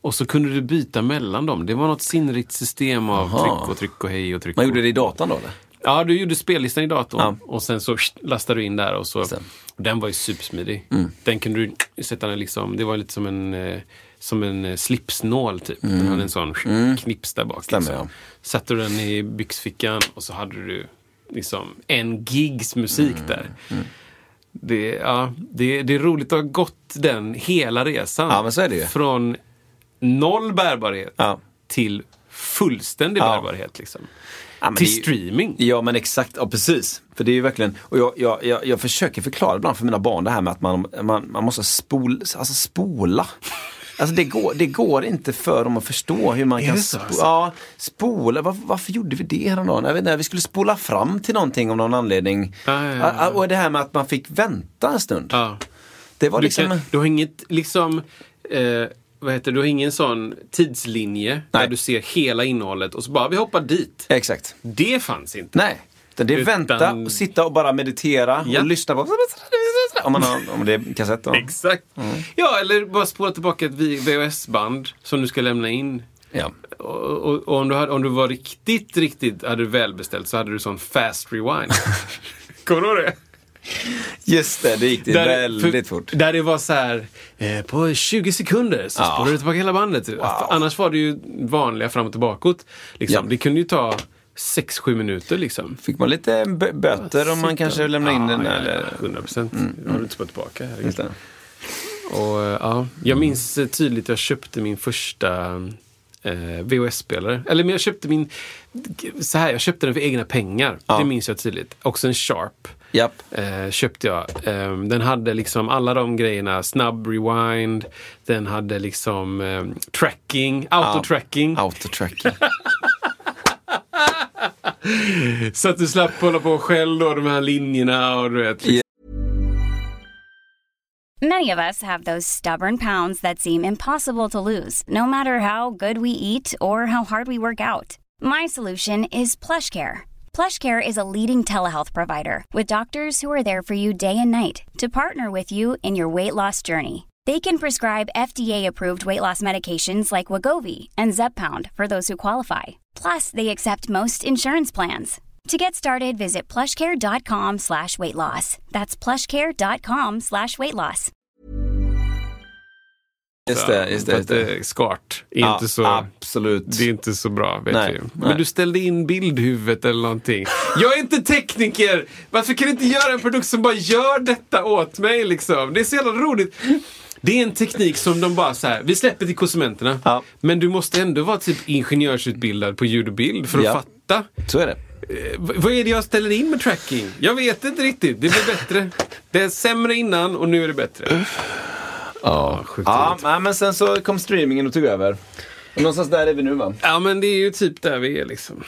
C: och så kunde du byta mellan dem. Det var något sinnrikt system av
B: Aha.
C: tryck och tryck och hej och tryck
B: man
C: och...
B: gjorde det i datan då eller?
C: Ja, du gjorde spellistan i datorn
B: Ja.
C: och sen så pst, lastade du in där och så.
B: Sen.
C: Den var ju supersmidig.
B: Mm.
C: Den kunde du sätta den liksom, det var lite som en, eh, som en eh, slipsnål typ. Den hade en sån pst, knips där bak. liksom.
B: Mm. Stämmer, ja.
C: Satte du den i byxfickan och så hade du liksom en gigs musik
B: Mm.
C: där. Det, ja, det, det är roligt att ha gått den hela resan.
B: Ja, men så är det ju.
C: Från noll bärbarhet
B: Ja.
C: till fullständig
B: Ja.
C: bärbarhet. Liksom.
B: Ja, men
C: till
B: det är ju-
C: streaming.
B: Ja men exakt, ja precis. För det är ju verkligen, och jag, jag, jag, jag försöker förklara ibland för mina barn det här med att man, man, man måste spol, alltså spola. Alltså det går, det går inte för dem att förstå hur man
C: Är
B: kan
C: det så,
B: spo-
C: alltså?
B: ja, spola. Var, varför gjorde vi det häromdagen? Jag vet inte, vi skulle spola fram till någonting av någon anledning.
C: Ja, ja, ja.
B: Ah, Och det här med att man fick vänta en stund.
C: Ja.
B: Det var
C: Du,
B: liksom...
C: kan, du har inget liksom, eh, vad heter det, du har ingen sån tidslinje där
B: Nej.
C: du ser hela innehållet och så bara vi hoppar dit.
B: Exakt.
C: Det fanns inte.
B: Nej. Utan det är
C: Utan-
B: vänta, och sitta och bara meditera
C: Ja.
B: och lyssna på... Om, man har, om det är kassett då.
C: Exakt.
B: Mm.
C: Ja, eller bara spola tillbaka ett vi- VHS-band som du ska lämna in.
B: Ja.
C: Och, och, och om, du hade, om du var riktigt, riktigt hade du välbeställt så hade du sån fast
B: *laughs*
C: rewind. Kommer du ihåg det?
B: Just det, det gick det väldigt
C: för-
B: fort.
C: Där det var så här, eh, på 20 sekunder så
B: Ja.
C: spolar du tillbaka hela bandet. typ. Annars var det ju vanliga fram och tillbakåt. Liksom.
B: Ja.
C: Det kunde ju ta 6-7 minuter liksom.
B: Fick man lite b- böter om man kanske lämnade in den?
C: Ah, Ja,
B: Eller? Mm,
C: Ja, 100 procent. har du inte fått tillbaka. herregud.
B: Just det.
C: Och, eh, ja, jag minns eh, tydligt jag köpte min första eh, VHS-spelare. Eller men jag köpte min... Så här, jag köpte den för egna pengar. Det minns jag tydligt. Också en Sharp.
B: Japp.
C: Eh, köpte jag. Eh, den hade liksom alla de grejerna. Snabb rewind. Den hade liksom eh, tracking. Auto-tracking.
B: Autotrack.
C: Så att du slapp hålla på själv då, de här linjerna och du vet. Liksom.
D: Many of us have those stubborn pounds that seem impossible to lose, no matter how good we eat or how hard we work out. My solution is PlushCare. PlushCare is a leading telehealth provider with doctors who are there for you day and night to partner with you in your weight loss journey. They can prescribe FDA-approved weight loss medications like Wagovi and Zepbound for those who qualify. Plus, they accept most insurance plans. To get started, visit plushcare.com slash weight loss. That's plushcare.com slash weight loss.
B: Just det, just det.
C: För
B: Just
C: att
B: det.
C: eh, skart är
B: Ja,
C: inte så...
B: Absolut.
C: Det är inte så bra, vet
B: Nej,
C: vi.
B: nej.
C: Men du ställde in bildhuvudet eller någonting. Jag är inte tekniker! Varför kan du inte göra en produkt som bara gör detta åt mig liksom? Det är så jävla roligt. Det är en teknik som de bara så här, vi släpper till konsumenterna.
B: Ja.
C: Men du måste ändå vara typ ingenjörsutbildad på ljud och bild för att
B: Ja.
C: fatta.
B: Så är det.
C: Eh, v- vad är det jag ställer in med tracking? Jag vet inte riktigt. Det blir bättre. Det är sämre innan och nu är det bättre. Ja, sjukt
B: Ja,
C: roligt.
B: nej, men sen så kom streamingen och tog över. Och någonstans där är vi nu va?
C: ja, men det är ju typ där vi är liksom.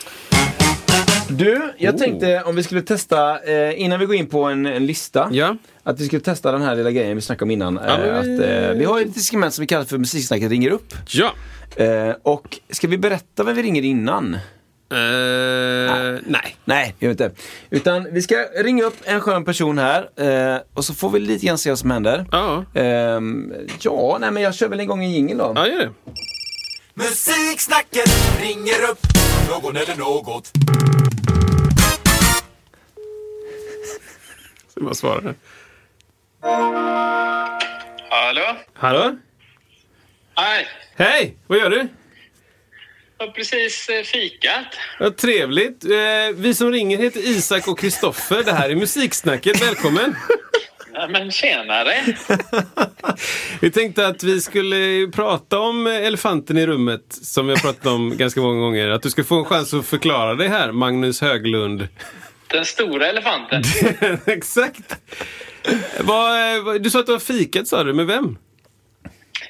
B: Du,
C: Oh.
B: jag tänkte om vi skulle testa, eh, innan vi går in på en, en lista,
C: Ja.
B: att vi skulle testa den här lilla grejen vi snackade om innan. eh,
C: men
B: att, eh, vi har ju ett instrument som vi kallar för Musiksnacket ringer upp.
C: Ja.
B: Eh, och ska vi berätta vem vi ringer innan?
C: Eh, nej.
B: Nej, jag vet inte. Utan vi ska ringa upp en skön person här eh, och så får vi lite grann se vad som händer.
C: Ja.
B: Ehm, ja, nej men jag kör väl en gång en jingel då.
C: Ja, gör det.
E: Musiksnacket ringer upp någon eller något.
C: Så man svarar.
F: Hallå?
C: Hallå?
F: Hej!
C: Hej! Vad gör du?
F: Jag har precis eh, fikat.
C: Vad trevligt. Eh, vi som ringer heter Isak och Kristoffer. Det här är Musiksnacket. *laughs* Välkommen!
F: Ja, Men tjenare!
C: Vi tänkte att vi skulle prata om elefanten i rummet, som vi har pratat om ganska många gånger. Att du ska få en chans att förklara dig här, Magnus Höglund.
F: Den stora elefanten.
C: *laughs* Exakt! Vad, eh, vad- du sa att du har fikat, sa du. Med vem?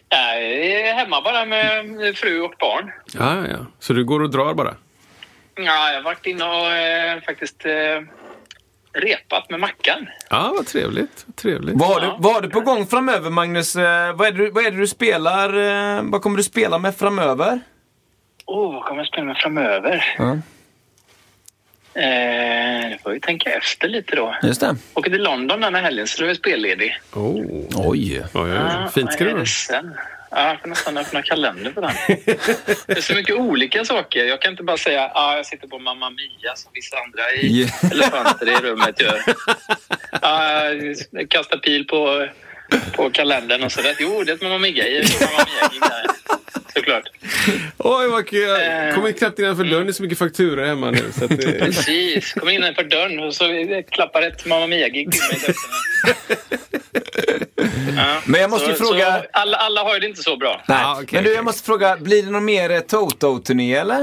F: Jag är hemma bara med fru och barn.
C: Ja, ja. Så du går och drar bara?
F: Ja, jag har varit inne och eh, faktiskt eh, repat med Mackan.
C: Ja, vad trevligt. Vad trevligt.
B: Vad har, du, vad har du på gång framöver Magnus? Eh, vad, är det, du- vad är det du spelar? Eh, vad kommer du spela med framöver?
F: Åh, oh, vad kommer jag spela med framöver?
B: Ja.
F: Eh, nu får vi tänka efter lite då.
B: Just det.
F: Åker till London den här helgen, så då är jag spelledig.
C: Oh.
B: Oj.
C: Oj, oj, oj. Fint ska
F: Ja,
C: det
F: Ah, är
C: vara.
F: sen? Ja, jag får nästan öppna kalendern
B: *laughs*
F: på den. Det är så mycket olika saker. Jag kan inte bara säga att jag sitter på Mamma Mia som vissa andra i
B: Ja.
F: elefanter i
B: *laughs*
F: rummet gör. Ja, jag kastar pil på, på kalendern och sådär. Jo, det är ett Mamma Mia. det är ett Mamma Mia-gig där. Såklart.
C: Oj, vad kul. Jag
F: Eh.
C: kommer knappt innanför dörren. Det är så mycket fakturor hemma nu. Så att det...
F: Precis. Kommer in på dörren och så klappar ett Mamma Mia-gig till mig. i dörren. Ja,
B: Men jag måste ju
F: så,
B: fråga-
F: Så alla, alla har ju det inte så bra.
B: Nej.
C: Ah, okej,
B: men du, jag
C: okej.
B: måste fråga, blir det någon mer eh, Toto-turné eller?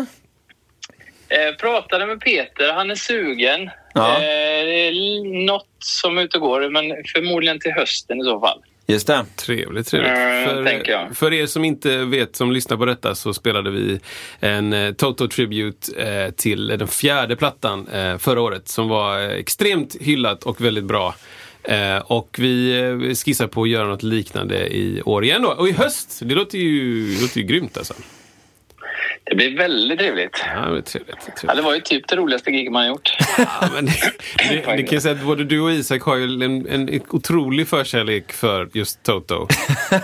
F: Eh, pratade med Peter, han är sugen.
B: Ja.
F: Eh, det är l- något som är ute och går, men förmodligen till hösten i så fall.
B: Just det.
C: Trevligt, trevligt.
F: Mm, tänker
C: För,
F: jag.
C: för er som inte vet, som lyssnar på detta, så spelade vi en eh, Toto Tribute eh, till den fjärde plattan eh, förra året som var eh, extremt hyllat och väldigt bra. Eh, och vi eh, skissar på att göra något liknande i år igen då. Och i höst! Det låter ju, det låter ju grymt alltså.
F: Det blir väldigt trevligt.
C: Ja, det är trevligt. det är
F: Ja,
C: trevligt.
F: det var ju typ det roligaste gig man gjort.
C: Ja,
F: *laughs*
C: men det, det, det kan jag säga att både du och Isak har ju en, en otrolig förkärlek för just
F: *laughs*
C: Toto.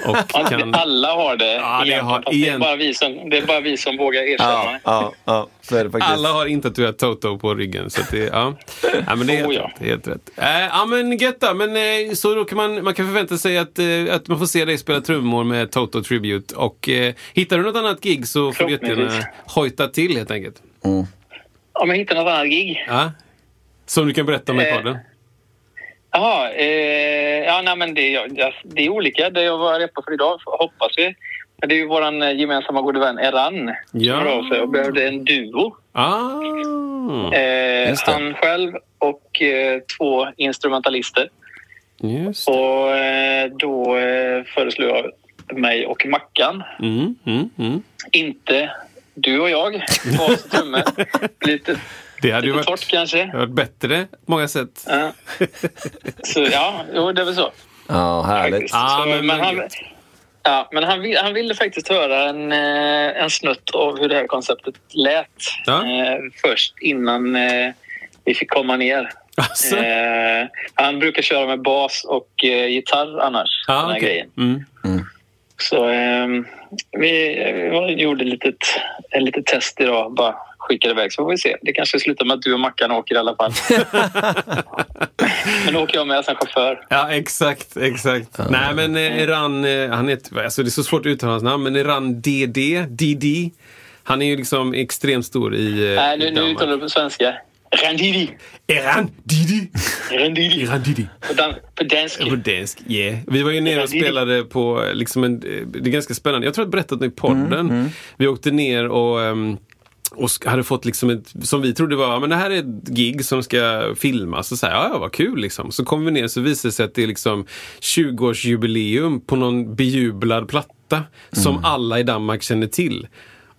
C: Och kan...
F: Alla har det.
C: Ja, det
F: egentligen,
C: har-
F: fast det, är
C: igen.
F: bara vi som, det är bara vi som vågar erkänna
B: Ja,
F: det.
B: ja, ja. Så är det faktiskt.
C: Alla har inte att du är Toto på ryggen. Så att det, ja. Ja, men det är helt
F: Oh, ja.
C: rätt. Det är helt rätt. Äh, ja, men gött då. men, eh, Så då kan man, man kan förvänta sig att, eh, att man får se dig spela trummor med Toto Tribute. Och eh, hittar du något annat gig så får du jättegärna
F: Förhoppningsvis.
C: hojta till helt enkelt.
F: Om jag hittar något annat gig.
C: Ja. Som du kan berätta om i
F: Eh.
C: podden.
F: Jaha, eh, ja, nej, men det, är- ja, det är olika. Det jag var repa för idag, hoppas vi. Men det är ju vår gemensamma gode vän Eran
C: Ja.
F: som hörde av sig och behövde en duo.
C: Ah.
F: Eh,
B: Just det.
F: han själv och eh, två instrumentalister.
C: Just det.
F: Och eh, då eh, föreslår jag mig och Mackan.
C: Mm, mm, mm.
F: Inte du och jag, varsin
C: *laughs*
F: tumme. Lite,
C: Det hade ju
F: lite
C: varit,
F: torrt Eh.
C: det
F: kanske.
C: hade varit bättre på många sätt.
F: Ja. Så ja, jo, det är väl så.
B: Ja, härligt.
F: faktiskt.
C: Ah,
F: så,
C: men vad
F: han,
C: gött.
F: ja, men han, vill- han ville faktiskt höra en, eh, en snutt av hur det här konceptet lät
C: Ja.
F: eh, först innan eh, vi fick komma ner.
C: Alltså.
F: Eh, han brukar köra med bas och eh, gitarr annars. den
C: Ah,
F: här
C: okej.
F: grejen.
C: mm.
F: Så ehm, vi, vi gjorde ett litet, ett litet test idag. Bara skickade iväg så får vi se. Det kanske slutar med att du och Mackan åker i
C: *laughs*
F: alla fall. Men då åker jag med som chaufför.
C: Ja, exakt, exakt. Nej, men eh, Iran, eh, han heter, alltså det är så svårt att uttala hans namn, men Iran DD, DD. Han är ju liksom extremt stor i, eh,
F: Nej, nu,
C: i
F: nu
C: Danmark.
F: uttalar du på svenska. Randidi.
C: Iran DD!
F: Randidi.
C: Iran DD.
F: På, dan- på danska.
C: På dansk, yeah. Vi var ju nere och spelade på, liksom en, det är ganska spännande, jag tror jag har berättat det i podden. Vi åkte ner och ehm, och sk- hade fått liksom ett, som vi trodde var, "Ja, men det här är ett gig som ska filmas. Och så här, ja, ja, vad kul liksom. Så kom vi ner så visade det sig att det är liksom 20-årsjubileum på någon bejublad platta som alla i Danmark känner till.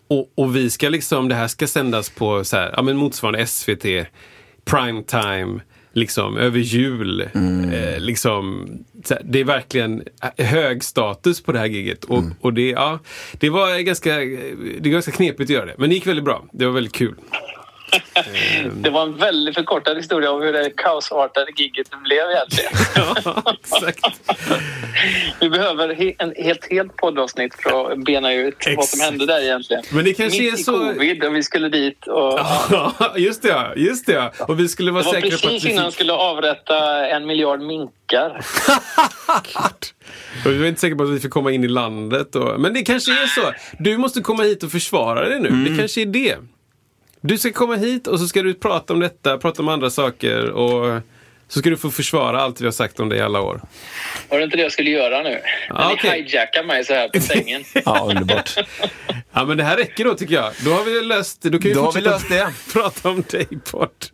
C: Och, och vi ska liksom, det här ska sändas på så här, ja, men motsvarande SVT, primetime, liksom över jul. Eh, liksom, så här, det är verkligen eh, hög status på det här giget. Och, och det, ja, det var ganska, det är ganska knepigt att göra det. Men det gick väldigt bra. Det var väldigt kul. *laughs*
F: Det var en väldigt förkortad historia om hur det kaosartade gigget blev egentligen.
C: Ja, exakt.
F: Vi behöver he- en helt, helt poddavsnitt för att bena ut vad som
C: Exakt.
F: hände där egentligen.
C: Men det kanske
F: Mitt
C: är
F: i
C: så-
F: covid och vi skulle dit och...
C: Ja, just det ja, just det ja. Och vi skulle vara
F: Det var
C: säkra på
F: precis
C: att vi
F: innan han
C: fick,
F: skulle avrätta en miljard minkar.
C: och vi var inte säkra på att vi fick komma in i landet. Och, men det kanske är så. Du måste komma hit och försvara dig nu.
B: Mm.
C: Det kanske är det. Du ska komma hit och så ska du prata om detta, prata om andra saker och så ska du få försvara allt vi har sagt om dig i alla år.
F: Var det inte det jag skulle göra nu?
C: Ja,
F: Ni
C: okej.
F: hijackar mig så här
C: *laughs*
F: på sängen.
B: Ja, underbart.
C: Ja men det här räcker då tycker jag. Då har vi löst det. Då kan vi
B: Då har vi
C: fortsätta
B: löst
C: *laughs*
B: det.
C: prata om dig bort.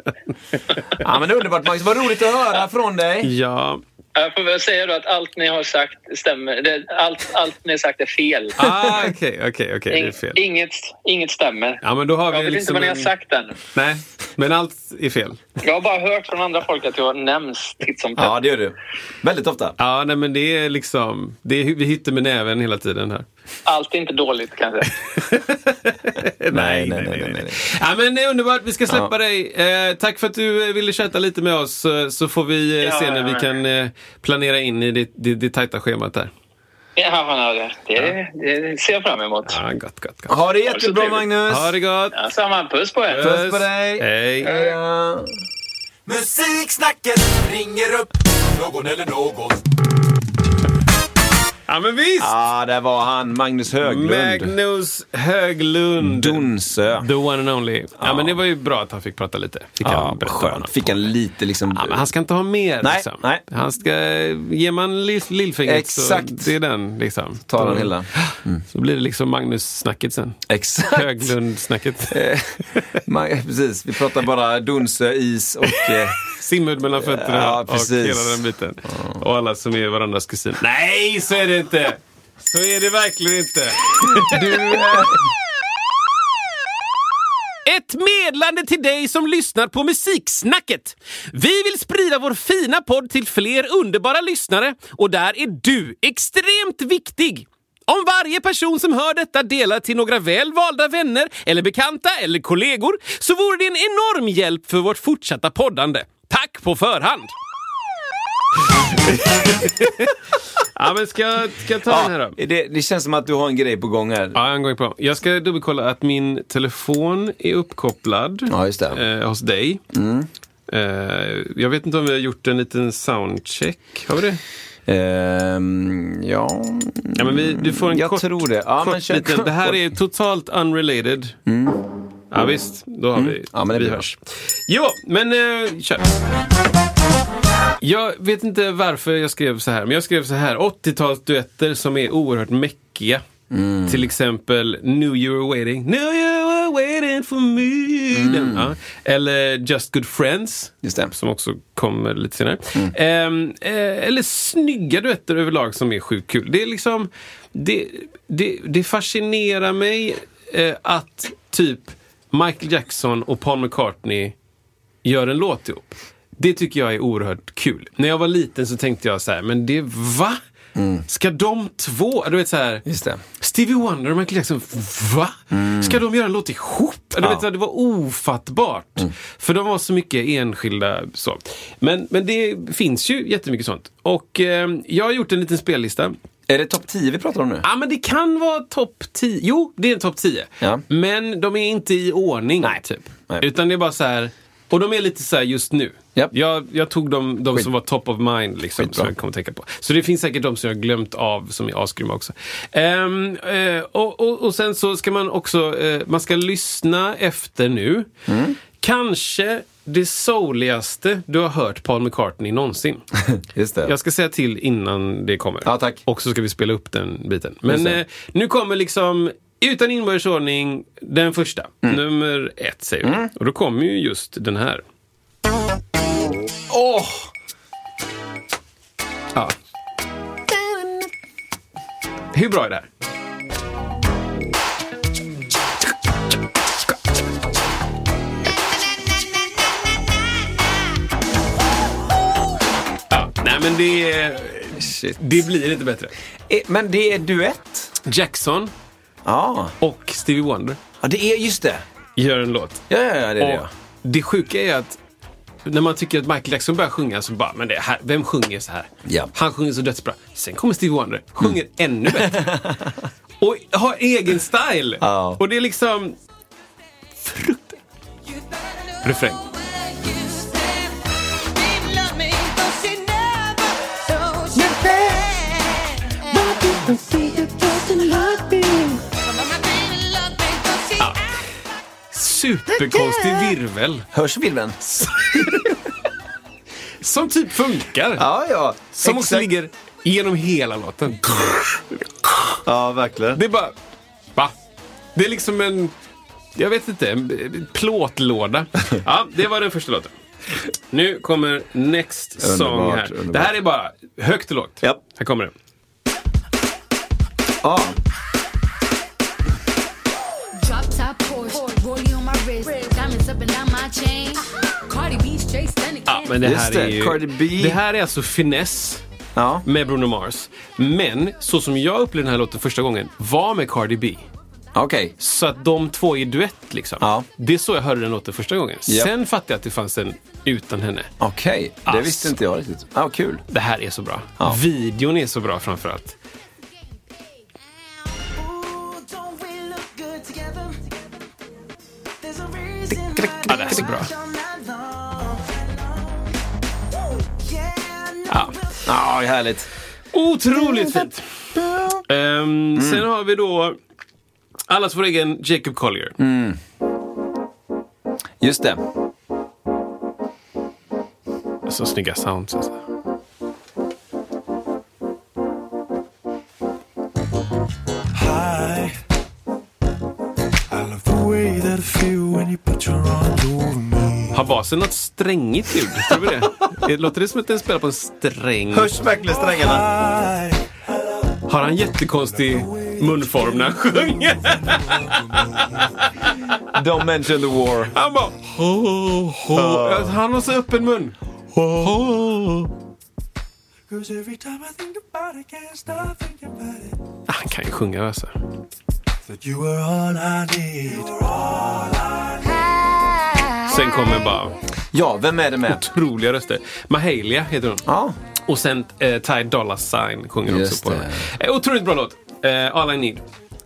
B: Ja, men det är underbart Magnus. Vad roligt att höra från dig.
C: Ja.
F: Jag får väl säga då att allt ni har sagt stämmer. Det- Allt, allt ni har sagt är fel.
C: Ah, Okej, okej, okej. Det är
F: Ing-
C: fel.
F: Inget, inget stämmer.
C: Ja men då har vi
F: Jag vet inte
C: liksom
F: vad ni har
C: en-
F: sagt än.
C: Nej, men allt är fel.
F: Jag har bara hört från andra folk att jag nämns titt som tätt.
B: Ja, det gör du. Väldigt ofta.
C: Ja, nej men det är liksom, det är, vi hytter med näven hela tiden här.
F: Allt är inte dåligt kanske.
B: nej, nej, nej, nej, nej.
C: Ja men det är underbart, vi ska släppa
B: Ja.
C: dig. Eh, tack för att du eh, ville chatta lite med oss eh, så får vi eh,
F: Ja,
C: se när
F: ja,
C: vi
F: ja.
C: kan eh, planera in i det, det, det tajta schemat där.
F: Ja, men det, det, det ser jag fram emot.
C: Ja, gott, gott, gott.
B: Ha det
F: så
B: jättebra
F: trevligt.
B: Magnus.
C: Ha det gott!
F: Ja, samma. Puss på er!
B: Puss på dig.
C: Hej!
B: Hej då.
E: Musiksnacket ringer upp någon eller något.
C: Ja men visst!
B: Ja, där var han, Magnus Höglund.
C: Magnus Höglund.
B: Donsö.
C: The one and only. Ja, men det var ju bra att han fick prata lite. Fick
B: Ja,
C: han
B: vad
C: berätta vad han
B: skönt. Fick en lite liksom...
C: Ja, men han ska inte ha mer.
B: Nej,
C: liksom.
B: nej.
C: Han ska, ger man lill- lillfingret så
B: Exakt.
C: det är den. Liksom.
B: Tar han
C: Då-
B: hela.
C: Så blir det liksom Magnus-snacket
B: *laughs*
C: sen.
B: Exakt.
C: Höglund-snacket.
B: *laughs* Eh, man, eh, precis, vi pratar bara Donsö, is och... Eh,
C: Simhud mellan fötterna
B: Ja,
C: och
B: precis.
C: hela den biten. Och alla som är varandras kusiner. Nej, så är det inte! Så är det verkligen inte.
B: du, eh,
C: Ett medlande till dig som lyssnar på Musiksnacket. Vi vill sprida vår fina podd till fler underbara lyssnare och där är du extremt viktig. Om varje person som hör detta delar till några väl valda vänner eller bekanta eller kollegor så vore det en enorm hjälp för vårt fortsatta poddande. Tack på förhand! ja, men ska, ska jag ta den här
B: ja,
C: då?
B: det, det känns som att du har en grej på gång här.
C: Ja, en gång på. Jag ska dubbelkolla att min telefon är uppkopplad
B: Ja, just det. Mm.
C: eh, hos dig. Eh, jag vet inte om vi har gjort en liten soundcheck. Har vi det?
B: Ehm, ja,
C: Ja, men vi, du får en
B: Mm, jag
C: kort,
B: tror det. Ja,
C: kort
B: men kör-
C: liten. Det här är totalt unrelated. Ja, visst, då har vi.
B: Mm. Ja, men det
C: vi
B: blir bra.
C: hörs. Jo, men eh, kör. Jag vet inte varför jag skrev så här, men jag skrev så här. 80-talsduetter som är oerhört mäckiga.
B: Mm.
C: Till exempel New You Were Waiting. New You Were Waiting For Me. Den, ja. Eller Just Good Friends.
B: Mm. Just det. Mm.
C: Som också kommer lite senare. Ehm, eh, eller snygga duetter överlag som är sjukt kul. Det är liksom... Det, det, det fascinerar mig eh, att typ Michael Jackson och Paul McCartney gör en låt ihop. Det tycker jag är oerhört kul. När jag var liten så tänkte jag så här, men det, va? Ska de två, du vet så här,
B: Mm. Just det. Mm.
C: Stevie Wonder och Michael Jackson, va? Ska de göra en låt ihop? Du vet, så här, det var ofattbart.
B: Mm.
C: För de var så mycket enskilda så. Men, men det finns ju jättemycket sånt. Och eh, jag har gjort en liten spellista.
B: Är det topp 10 vi pratar om nu?
C: Ja, men det kan vara topp 10. Jo, det är en topp 10.
B: Ja.
C: Men de är inte i ordning, typ.
B: Nej.
C: Utan det är bara så här... Och de är lite så här just nu.
B: Japp.
C: Jag, jag tog de, de
B: Skit.
C: som var top of mind, liksom,
B: Skitbra.
C: som jag kom att tänka på. Så det finns säkert de som jag har glömt av, som är asgrymma också. Ehm, eh, och, och, och sen så ska man också, eh, man ska lyssna efter nu.
B: Mm.
C: Kanske det souligaste du har hört Paul McCartney någonsin.
B: Just det.
C: Jag ska säga till innan det kommer.
B: Ja, tack.
C: Och så ska vi spela upp den biten.
B: Just
C: Men
B: det.
C: eh, nu kommer liksom, utan inbördes ordning, den första.
B: Mm.
C: Nummer ett säger vi. Och då kommer ju just den här.
B: Åh!
C: Ja. Hur bra är det här? Ja, nej men det, är-
B: Shit.
C: det blir inte bättre.
B: Eh, Men det är duett.
C: Jackson
B: Ja.
C: och Stevie Wonder
B: ja, det är just det.
C: gör en låt.
B: Ja, ja, ja det är det.
C: Och det sjuka är att när man tycker att Michael Jackson börjar sjunga så bara, men det här, vem sjunger så här?
B: Ja. Mm.
C: Han sjunger så dödsbra. Sen kommer Stevie Wonder, sjunger ännu
B: *laughs*
C: bättre. och har egen style.
B: Ja.
C: Och det är liksom... Frukt... Refräng. Superkonstig virvel.
B: Hörs virveln?
C: Som typ funkar.
B: Ja, ja.
C: Som också ligger genom hela låten.
B: Ja, verkligen.
C: Det är bara... Va? Det är liksom en... Jag vet inte. En plåtlåda. Ja, det var den första låten. Nu kommer Next Song
B: Underbart,
C: här.
B: underbart.
C: Det här är bara högt och lågt.
B: Japp.
C: Här kommer den.
B: Ja.
G: Drop top Porsche, Rollie on my wrist, diamonds up and down my chain. Cardi B straight stunning.
C: Ja, men det
B: Just
C: här
B: det,
C: är ju...
B: Cardi B.
C: Det här är alltså finess
B: ja.
C: med Bruno Mars. Men så som jag upplevde den här låten första gången var med Cardi B.
B: Okej.
C: Så att de två i duett liksom.
B: Ja.
C: Det är så jag hörde den låten första gången.
B: Japp.
C: Sen fattade jag att det fanns en utan henne.
B: Okej. Det
C: Ass.
B: visste inte jag riktigt. Ja, kul.
C: Det här är så bra.
B: Ja.
C: Videon är så bra framförallt.
H: Ja, det här är så bra.
C: Ja.
B: Ja, härligt.
C: Otroligt fint! Ehm, Sen har vi då allas vår egen Jacob Collier.
B: Just det.
C: Så snygga sounds alltså.
E: Hi. I love the way that I feel when you put your arms over me.
C: Har basen något strängigt ljud? Tror vi det? det? Låter det som att den spelar på en sträng?
B: Hörs verkligen strängarna?
E: Hi.
C: Har han jättekonstig munform när han sjunger?
B: Don't mention the war.
C: Han bara... "Ho, ho." Alltså, Han har så öppen mun.
E: Cause every time I think about it, can't stop thinking about it.
C: Han kan ju sjunga alltså.
E: That you were all I need.
C: Sen kommer bara
B: Ja, vem är det med?
C: otroliga röster. Mahalia heter hon.
B: Ja.
C: Och sen eh, Ty Dolla Sign sjunger
B: Just
C: också på
B: det.
C: den. Eh, otroligt bra låt. Eh, All I Need.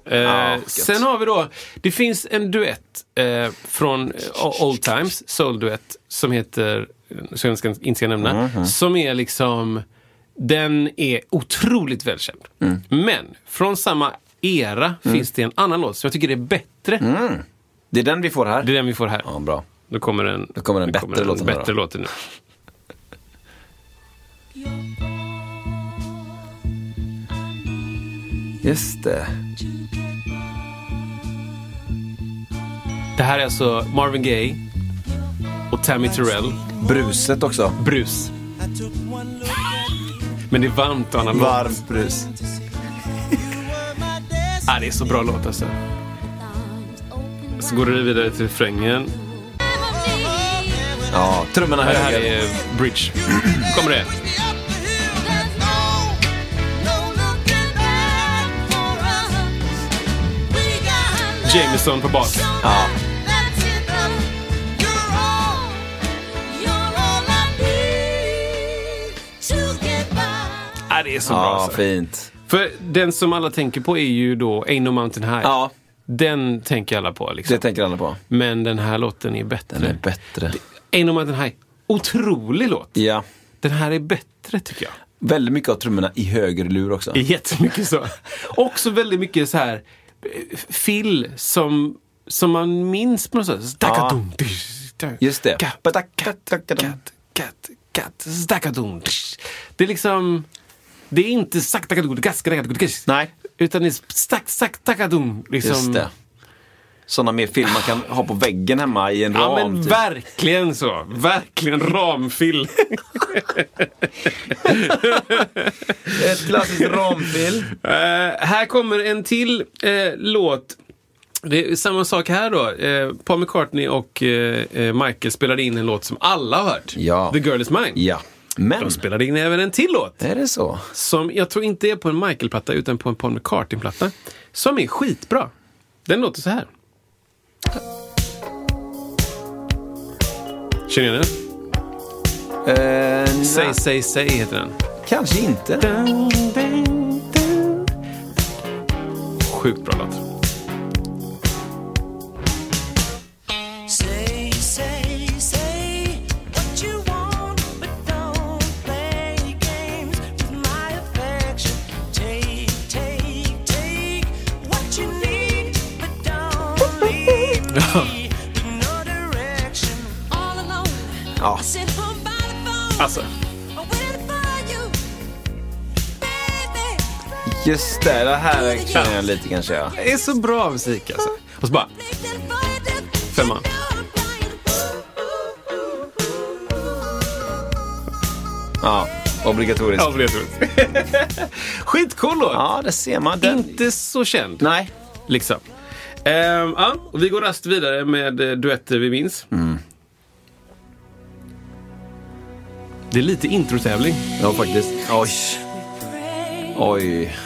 C: Eh,
B: Ah, gött.
C: sen har vi då, det finns en duett eh, från eh, Old Times, soul-duett, som heter, eh, som jag ska, inte ska nämna,
B: Mhm.
C: som är liksom, den är otroligt välkänd.
B: Mm.
C: Men från samma era finns det en annan låt som jag tycker är bättre.
B: Det är den vi får här.
C: Det är den vi får här.
B: Mm. Ja, bra.
C: Då kommer en,
B: Då kommer den
C: då
B: bättre låten här
C: bättre
B: då.
C: låten nu.
B: Just det.
C: Det här är alltså Marvin Gaye och Tammy Terrell.
B: Bruset också.
C: Brus. Men det är varmt och analogt.
B: Varmt brus.
C: Ah, det är så bra låt alltså. Så går det vidare till refrängen.
H: Ah.
B: Ja, trummorna
C: Det här
B: höger.
C: är bridge. Kommer det. Jameson på bas.
B: Ja.
H: To get by.
C: Ah, det är så bra
B: Ja,
C: alltså.
B: fint.
C: För den som alla tänker på är ju då Ain't No Mountain High.
B: Ja.
C: Den tänker alla på liksom.
B: Det tänker alla på.
C: Men den här låten är bättre.
B: Den är bättre.
C: Ain't No Mountain High. Otrolig låt.
B: Ja.
C: Den här är bättre tycker jag.
B: Väldigt mycket av trummorna i höger lur också.
C: Det är Jättemycket så. Också väldigt mycket så här eh, fill som, som man minns på något sätt. Stakadum, dish, da-
B: Just det.
C: Kat, kat, kat, kat, stakadum, dish. Det är liksom... Det är inte saktakadum,
B: Nej.
C: Utan det är stack, saktakadum. Liksom.
B: Just det. Sådana mer film man kan ha på väggen hemma i en
C: Ja
B: ram.
C: men
B: typ.
C: verkligen så. Verkligen ramfill.
B: Ett klassiskt ramfil.
C: Eh, här kommer en till eh, låt. Det är samma sak här då. Eh, Paul McCartney och eh, eh, Michael spelade in en låt som alla har hört.
B: Ja.
C: The Girl Is Mine.
B: *laughs* Ja. Men,
C: De spelade in även en till låt.
B: är det så?
C: Som jag tror inte är på en Michael-platta utan på en Paul McCartney-platta. Som är skitbra. Den låter så här. Känner ni igen den?
B: Eh,
C: Säg,
B: nej,
C: säg, säg heter den.
B: kanske inte.
C: Sjukt bra låt.
H: Say, say, say what you want, but don't play games with my affection. Take, take, take what you need, but don't leave me with no direction. All alone,
B: Ja.
H: I sit home by the phone.
C: Alltså.
H: I'm waiting for you, baby.
B: Just det, det här känner jag lite kanske. Ja.
C: Det är så bra musik alltså. Och så bara... Femma.
B: ja. Obligatoriskt.
C: Ja, obligatoriskt. *laughs* Skitcool låt!
B: Ja, det ser man. Den...
C: Inte så känd.
B: Nej.
C: Liksom. Ehm, ja, och vi går rast vidare med eh, duetter vi minns.
B: Mm.
C: Det är lite introtävling.
B: Ja, faktiskt. Oj. Oj.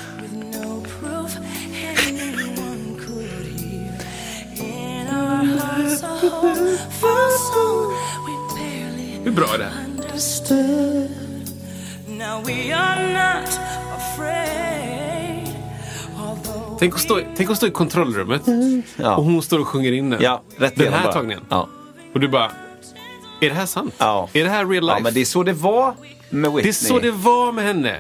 C: Hur bra är det här?
H: Now we are not afraid, although
C: Tänk att, stå, tänk att stå i kontrollrummet
B: Mm. Ja.
C: och hon står och sjunger in den.
B: Ja, rätt
C: den
B: igenom
C: här
B: bara.
C: tagningen.
B: Ja.
C: Och du bara, är det här sant?
B: Ja.
C: Är det här real life?
B: ja, men det är så det var med Whitney.
C: Det är så det var med henne.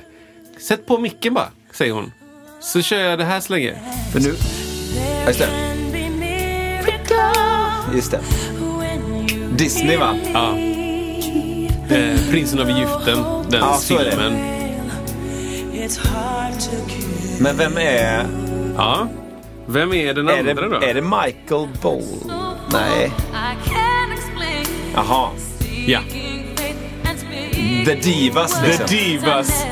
C: Sätt på micken bara, säger hon. Så kör jag det här så länge.
B: För nu... Ja, Just det.
H: can be miracles
B: Just det.
H: when you
B: Disney, va?
C: Ja. Eh, Prinsen av Egypten, den
B: Ja, så är det.
C: filmen.
H: It's hard to kill.
B: Men vem är...
C: Ja. Vem är den
B: Är
C: andra då?
B: det, är det Michael Bowl? Nej. Jaha.
C: Ja.
B: The Divas, liksom.
C: Divas.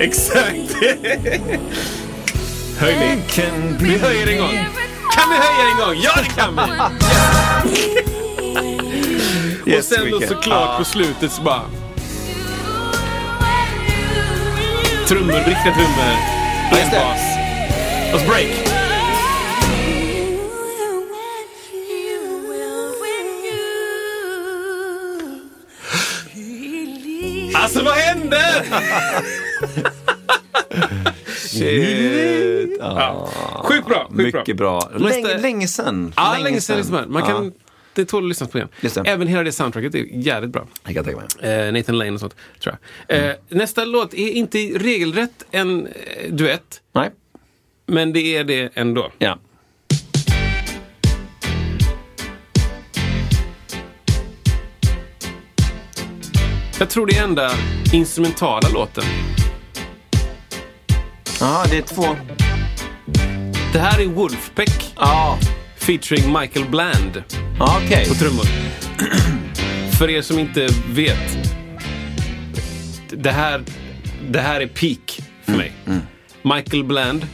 C: Exakt. *laughs* Höjning. Vi höjer en gång. Kan vi höja en gång? Ja, det kan
B: *laughs*
C: vi! Och
B: Yes,
C: sen
B: we
C: då
B: can.
C: såklart på slutet så bara... Trummor, riktiga trummor.
B: Ja, just det.
C: Bas. Och så break. Alltså vad
B: *laughs*
C: händer?
B: Shit.
C: Ja. Sjukt bra. Sjukt
B: Mycket bra. Länge,
C: Nästa-
B: länge sen.
C: Ja, länge sedan. lyssnade Man Man kan... Det tål att lyssna på igen.
B: Just det.
C: Även hela det soundtracket är jävligt bra.
B: Jag kan tänka mig.
C: Eh, Nathan Lane och sånt, tror jag. Eh,
B: Mm.
C: Nästa låt är inte regelrätt en eh, duett,
B: Nej.
C: men det är det ändå.
B: Ja.
C: Jag tror det är enda instrumentala låten.
B: Jaha, det är två.
C: Det här är Wolfpack
B: Ja,
C: featuring Michael Bland
B: ja okej.
C: på trummor. *clears throat* För er som inte vet. Det här, det här är peak för mig. Michael Bland.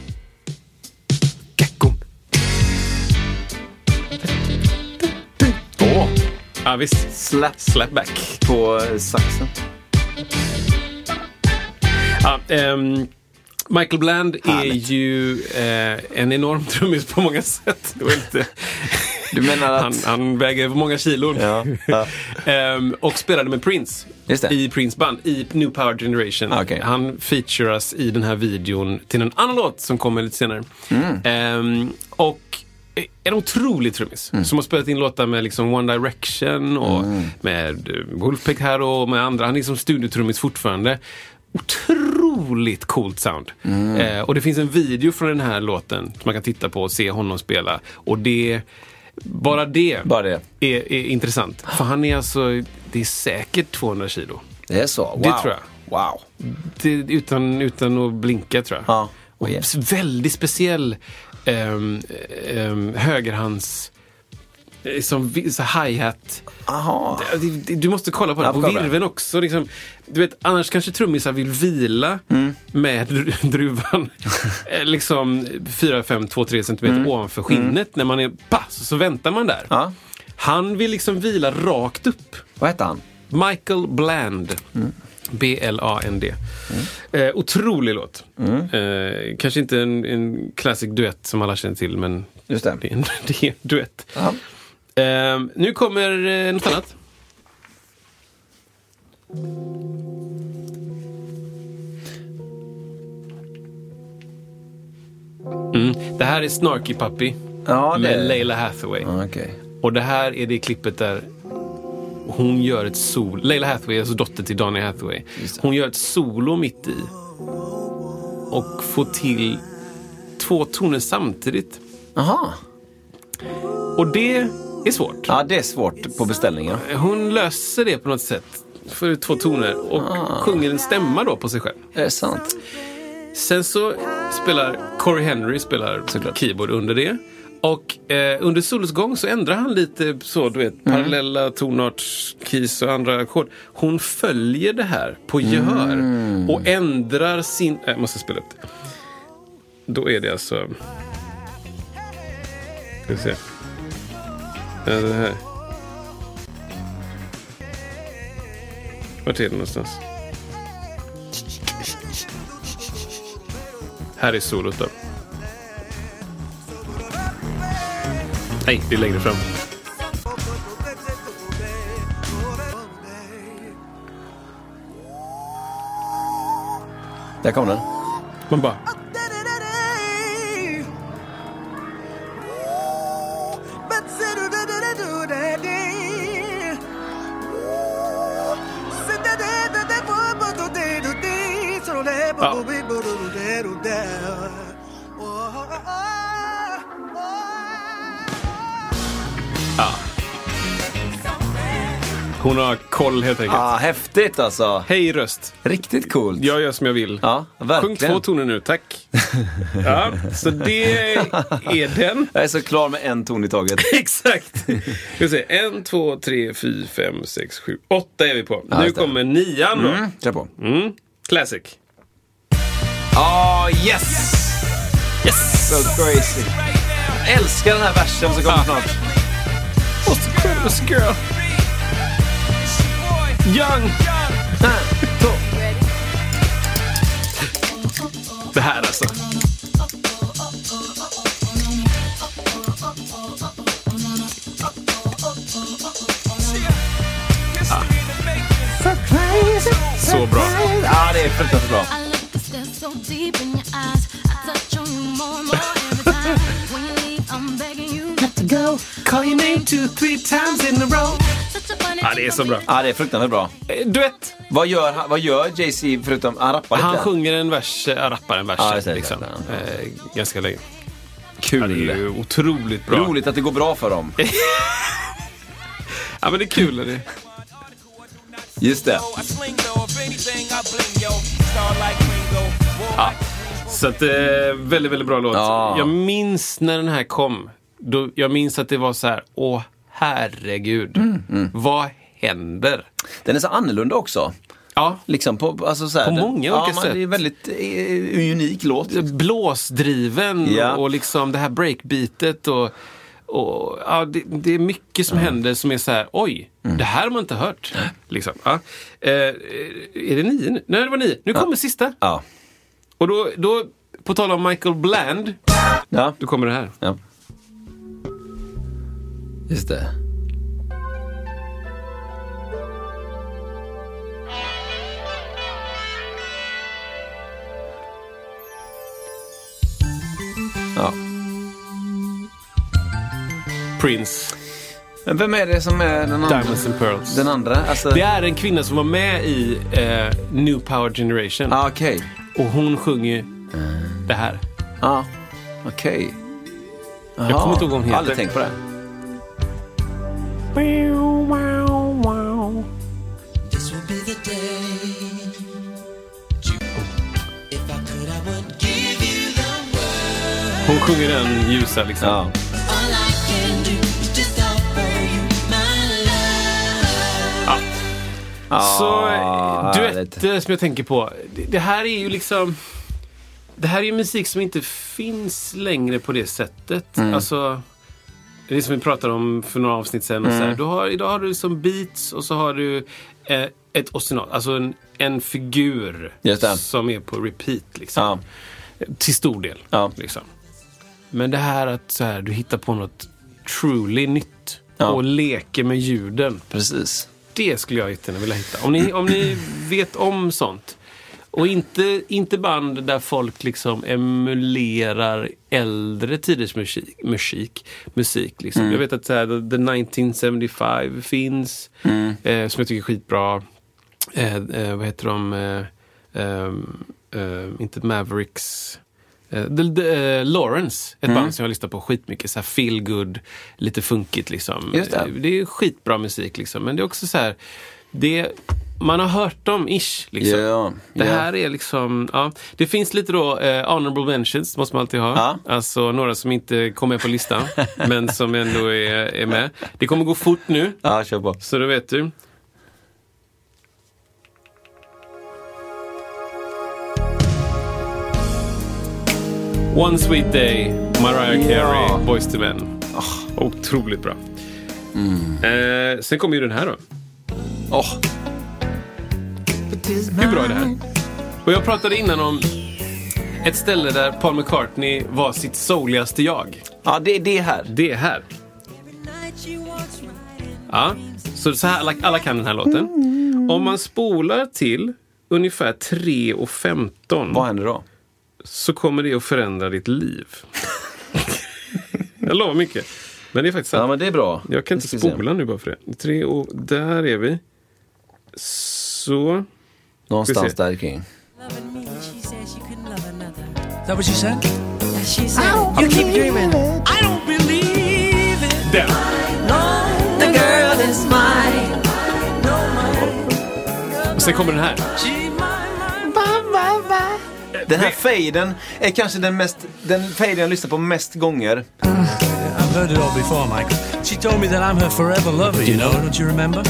C: Gacko.
B: Åh,
C: Ja visst.
B: Slap, slap
C: Slapback.
B: på saxen.
C: Ja, ehm, Michael Bland
B: Härligt.
C: är ju eh, en enorm trummis på många sätt. Det var inte...
B: Du menar att...
C: Han, han väger många kilon.
B: Ja, ja.
C: Ehm, och spelade med Prince
B: Just det.
C: i Prince band, i New Power Generation.
B: Ah, okej.
C: Han featuras i den här videon till en annan låt som kommer lite senare. Ehm, och eh, en otrolig trummis som har spelat in låtar med liksom One Direction och med eh, Wolfpack här och med andra. Han är liksom studiotrummis fortfarande. Otroligt coolt sound. Eh, och det finns en video från den här låten som man kan titta på och se honom spela. Och det, bara det,
B: Bara det.
C: Är, är intressant. För han är alltså, det är säkert 200 kilo.
B: Det är så? Wow.
C: Det tror jag.
B: Wow.
C: Det, utan, utan att blinka tror jag.
B: Ja. Oh,
C: Och
B: Oj.
C: s- väldigt speciell ehm, ehm, högerhands... eh, Som vi- så hi-hat.
B: Aha.
C: Det- det- Du måste kolla på
B: Ja,
C: den. På
B: kolla på den.
C: virveln också. Liksom, du vet, annars kanske trummisar vill vila
B: Mm.
C: med dru- *laughs* druvan. eh, liksom 4, 5, 2, 3 centimeter ovanför skinnet. När man är pass så väntar man där.
B: Mm. Ja.
C: Han vill liksom vila rakt upp.
B: Vad hette han?
C: Michael Bland. B-L-A-N-D. Eh, otrolig låt.
B: Mm.
C: Eh, kanske inte en, en classic duett som alla känner till, men
B: Just det.
C: är en, *laughs* det är en duett.
B: Ja.
C: Eh, nu kommer eh, något annat. Mm. Det här är Snarky Puppy
B: Ja, det
C: med Leila Hathaway.
B: Ja, Okej.
C: Och det här är det klippet där hon gör ett sol. Leila Hathaway, alltså dotter till Donny Hathaway. Hon gör ett solo mitt i. Och får till två toner samtidigt.
B: Aha.
C: Och det är svårt.
B: Ja, det är svårt på beställningen.
C: Hon löser det på något sätt. Får ut två toner och sjunger en stämma då på sig själv.
B: Är det sant?
C: Sen så spelar Corey Henry spelar keyboard under det. Och eh, under solos gång så ändrar han lite så, du vet, parallella tonarts, keys och andra ackord. Hon följer det här på gehör och ändrar sin... äh, Jag måste spela upp det. Då är det alltså... Ska vi se. Ja, det här. Vart är det någonstans? Här är solot då. Nej, det är längre fram.
B: Där kom den.
C: Man bara... Hon har koll helt enkelt.
B: Ja, häftigt alltså.
C: Hej röst!
B: Riktigt coolt.
C: Jag gör som jag vill.
B: Ja,
C: Sjung
B: verkligen.
C: två toner nu, tack. Ja, så det är
B: *laughs*
C: den.
B: Jag är så klar med en ton i taget.
C: Exakt. Ska vi se. En, två, tre, fyra, fem, sex, sju, åtta är vi på. nu
B: just det.
C: kommer nian då.
B: Mm, Kör på.
C: Classic.
B: Ah, yes! Yes! So crazy. Jag älskar den här versen som kommer snart.
C: Girl. Young. Det här alltså. Så bra.
B: Ja, ah, det är fruktansvärt bra.
G: I look to stare so deep in your eyes. I touch on you more and more every time. When you leave, I'm begging you not to go. Such a funny
C: Ja, det är så bra.
B: Ja, ah, det är fruktansvärt bra.
C: Duett.
B: Vad gör, han- vad gör Jay-Z förutom... Han rappar lite.
C: Han sjunger en vers, äh, rappar en vers.
B: Ja, just det,
C: liksom.
B: exakt,
C: eh, ganska länge. Ja, det
B: Kul.
C: är ju otroligt bra.
B: Roligt att det går bra för dem.
C: Ja, men det är kul. Är det?
B: Just det.
C: Så att, eh, väldigt, väldigt bra låt.
B: Ja.
C: Jag minns när den här kom. Då, jag minns att det var så här, åh herregud.
B: Mm,
C: Vad händer?
B: Den är så annorlunda också.
C: Ja,
B: Liksom på, alltså så här,
C: På
B: den-
C: många
B: ja,
C: olika
B: men
C: sätt.
B: Det är väldigt eh, unik låt.
C: blåsdriven
B: Ja.
C: och liksom det här breakbeatet och, och ja, det, det är mycket
B: Mm.
C: som händer som är så här, oj, det här har man inte hört. Liksom. Ja. Eh, är det nio nu? Nej, det var nio. Nu kommer sista.
B: Ja.
C: Och då, då, på tal om Michael Bland,
B: Ja.
C: då kommer det här.
B: ja. Just det.
C: Prince,
B: Men vem är det som är den andra?
C: Diamonds and Pearls.
B: Den andra? Alltså...
C: Det är en kvinna som var med i eh, New Power Generation.
B: Ah, okej.
C: Och hon sjunger det här.
B: Ja, okej. Jaha.
C: kommer inte ihåg vad hon heter.
B: Aldrig tänkt på det.
H: This will be the day. If I could, I would give you the world.
C: Hon sjunger den ljusa liksom.
B: Ja.
H: All I can do is just offer you my love.
C: Så eh,
B: Ah, härligt.
C: duetter som jag tänker på. Det, det här är ju liksom... Det här är ju musik som inte finns längre på det sättet.
B: Mm.
C: Alltså, det är som vi pratade om för några avsnitt sedan. Och
B: Mm.
C: så här, du har, idag har du som beats och så har du eh, ett oscillat, alltså en, en figur
B: Just det.
C: som är på repeat. Liksom.
B: Ja.
C: Till stor del.
B: Ja.
C: Liksom. Men det här att så här, du hittar på något truly nytt
B: Ja.
C: och leker med ljuden.
B: Precis.
C: Det skulle jag jättegärna vilja hitta. Om ni, om ni vet om sånt. Och inte, inte band där folk liksom emulerar äldre tiders musik. musik, musik liksom.
B: Mm.
C: Jag vet att så här, The 1975 finns,
B: Mm.
C: eh, som jag tycker är skitbra. Eh, eh, vad heter de? Eh, ehm, eh, inte Mavericks. Eh, The, the, eh, Lawrence,
B: Mm.
C: ett band som jag har lyssnat på skitmycket. Så här feel good, lite funkigt liksom.
B: Just det.
C: Eh, det är skitbra musik liksom. Men det är också så här, det, man har hört dem ish. Liksom.
B: Ja,
C: det
B: ja.
C: här är liksom, ja. Det finns lite då eh, honorable mentions, måste man alltid ha.
B: Ja.
C: Alltså några som inte kommer med på listan, *laughs* men som ändå är, är med. Det kommer gå fort nu,
B: Ja, kör på.
C: så då vet du. One Sweet Day, Mariah Carey,
B: Ja.
C: Boyz II Men. Otroligt bra. Eh, sen kommer ju den här då.
B: Åh,
C: Hur bra är det här? Och jag pratade innan om ett ställe där Paul McCartney var sitt souligaste jag.
B: Ja, det är det här.
C: Det är här. Ja, så, så här alla, alla kan den här låten. Om man spolar till ungefär 3 och 15
B: Vad händer då?
C: så kommer det att förändra ditt liv. jag lovar mycket. Men det är faktiskt sant.
B: Ja, men det är bra.
C: Jag kan
B: Nu
C: inte
B: ska vi se.
C: spola nu bara för det. Tre och där är vi. Så.
B: Någonstans
C: Ska
B: där kring.
H: Loving me, she says you couldn't love another.
I: that what you said?
H: She said, You keep dreaming. I don't believe it.
C: Där!
H: No, the girl is mine. No, mine.
C: Och sen kommer den här.
H: She mine, mine.
B: Den här fejden är kanske den mest, den fejden jag lyssnar på mest gånger.
I: I've heard it all before, Michael. She told me that I'm her forever lover, you know, don't you remember?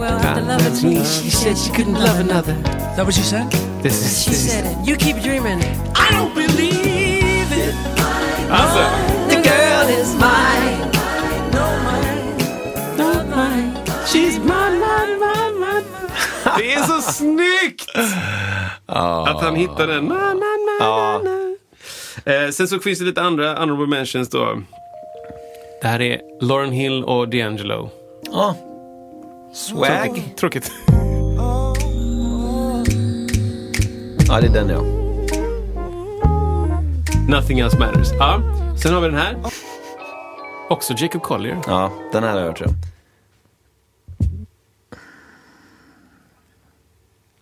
H: Well, after loving Ah, me, she said she couldn't love another.
I: that what you said?
H: She said it. You keep dreaming. I don't believe it.
C: Alltså,
H: The girl is mine. No, mine. Not mine. She's mine, mine, mine, mine.
C: *laughs* det är så snyggt!
B: Ah.
C: Att han hittar den. Na, na, na, na, na. Eh, sen så finns det lite andra honorable mentions då. Det här är Lauren Hill och D'Angelo.
B: Ja. Swag.
C: Tråkigt.
B: Ja, det är den ja.
C: Nothing else matters. Ja. Sen har vi den här.
B: Ah.
C: Också Jacob Collier.
B: Ja, den här har jag hört tror jag.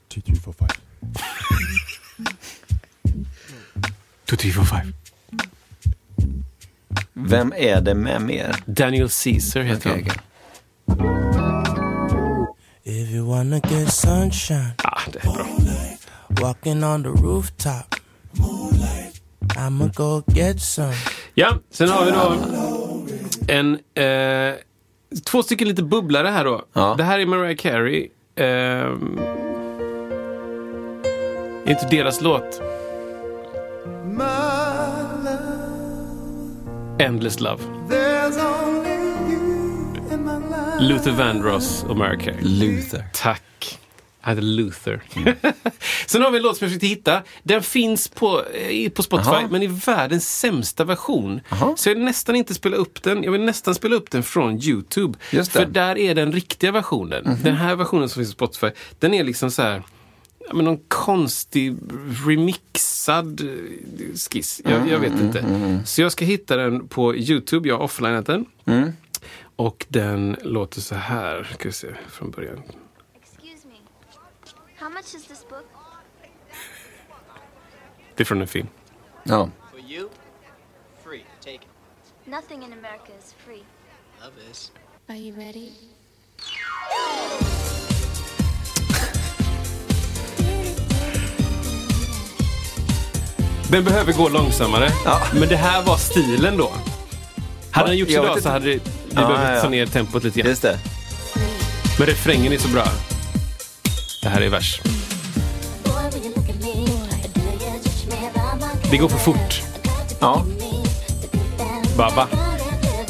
E: Two, three, four, five.
C: Two, three, four, five.
B: Vem är det med mer?
C: Daniel Caesar heter han.
B: Okej, okej.
I: If you wanna get sunshine,
C: Ah, det är bra.
I: walking on the rooftop, I'ma go get some.
C: Ja, sen har vi då en, eh, två stycken lite bubblare här då.
B: Ja.
C: Det här är Mariah Carey. Ehm, det är inte deras låt. Endless Love. Luther Vandross och Mariah Carey.
B: Luther.
C: Tack. Jag hade Luther. Mm. *laughs* Sen har vi en låt som jag försökte hitta. Den finns på, eh, på Spotify,
B: Jaha.
C: men i världens sämsta version. Så jag vill nästan inte spela upp den. Jag vill nästan spela upp den från YouTube.
B: Just det. Mhm.
C: För där är den riktiga versionen. Den här versionen som finns på Spotify, den är liksom så här... ja, men någon konstig remixad eh, skiss.
B: Mm,
C: Jag, jag vet inte. Så jag ska hitta den på YouTube. Jag har offlineat den.
B: Mm.
C: Och den låter så här. Ska vi se från början.
J: Excuse me. How much is this book?
C: Det är från en film.
B: Ja.
H: For you, free. Take it.
J: Nothing in America is free.
H: Love is.
G: Are you ready?
C: Den behöver gå långsammare. Men det här var stilen då. Hade den gjorts
B: Jag vet
C: idag så
B: inte.
C: hade det, vi
B: Ja,
C: behövt
B: ja,
C: ta
B: ja.
C: ner tempot lite grann.
B: Just det.
C: Men refrängen är så bra. Det här är vers. Det går för fort.
B: Ja.
C: Baba.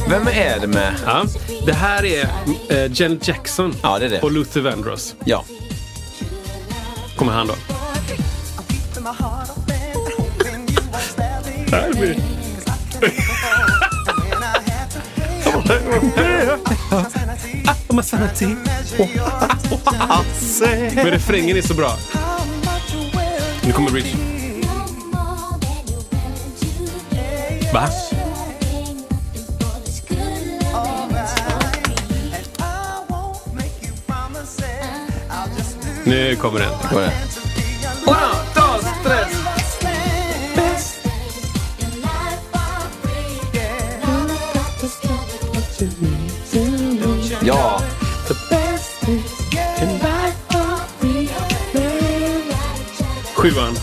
B: Vem är det med?
C: Ja. Det här är eh, Janet Jackson
B: Ja, det är det.
C: och Luther Vandross.
B: Ja.
C: Kommer han då. Men refrängen är så bra. Nu kommer Rich. Va? Nu kommer den.
B: Vad är det? Ja.
C: Sjuan.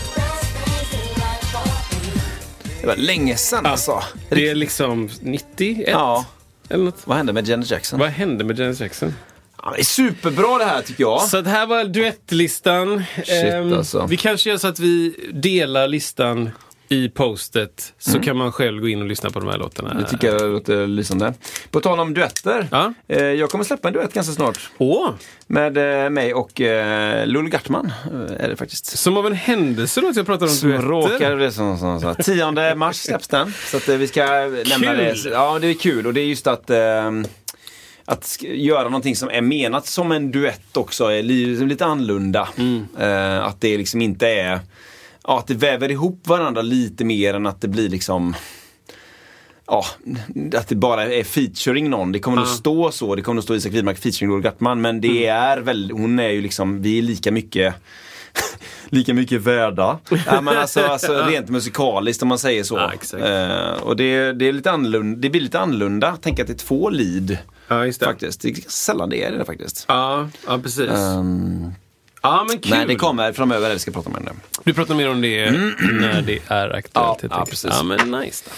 B: Det var länge sedan alltså.
C: Det är liksom 91
B: Ja.
C: eller något.
B: Vad hände med Janet Jackson?
C: Vad hände med Janet Jackson?
B: Ja, det är superbra det här tycker jag.
C: Så det här var duettlistan.
B: Shit,
C: Ehm,
B: alltså.
C: Vi kanske gör så att vi delar listan i postet så kan man själv gå in och lyssna på de här låtarna.
B: Mm. Det tycker jag låter lysande. På tal om duetter.
C: Ja.
B: Eh, jag kommer släppa en duett ganska snart.
C: Åh,
B: Med eh, mig och eh, Lulu Gartman eh, är det faktiskt.
C: som av en händelse då att jag pratar om
B: Som
C: duetter.
B: råkar det som, som, som. 10 mars släpps den. Så att eh, vi ska lämna
C: Kul!
B: det. Så- Ja, det är kul och det är just att eh, att sk- göra någonting som är menat som en duett också, är li- liksom lite annorlunda. Eh, att det liksom inte är, ja att det väver ihop varandra lite mer än att det blir liksom Ja, att det bara är featuring någon. Det kommer nog stå så. Det kommer nog stå Isak Widmark featuring Lord Gartman. Men det
C: Mm.
B: är väl, hon är ju liksom, vi är lika mycket *laughs* Lika mycket värda. Ja, men alltså,
C: *laughs*
B: alltså, rent musikaliskt om man säger så.
C: Ja, exakt.
B: Eh, och det, det, är lite annorlunda, det blir lite annorlunda. Tänk att det är två lead.
C: Ja, just det.
B: Faktiskt. Det är ganska sällan det är det faktiskt.
C: Ja, ja precis.
B: Ehm,
C: ja, men kul.
B: nej, det kommer framöver. Vi ska prata om det.
C: Du pratar mer om
B: *clears throat*
C: det när det är aktuellt.
B: Ja,
C: helt
B: ja,
C: enkelt.
B: precis.
C: Ja, men nice då.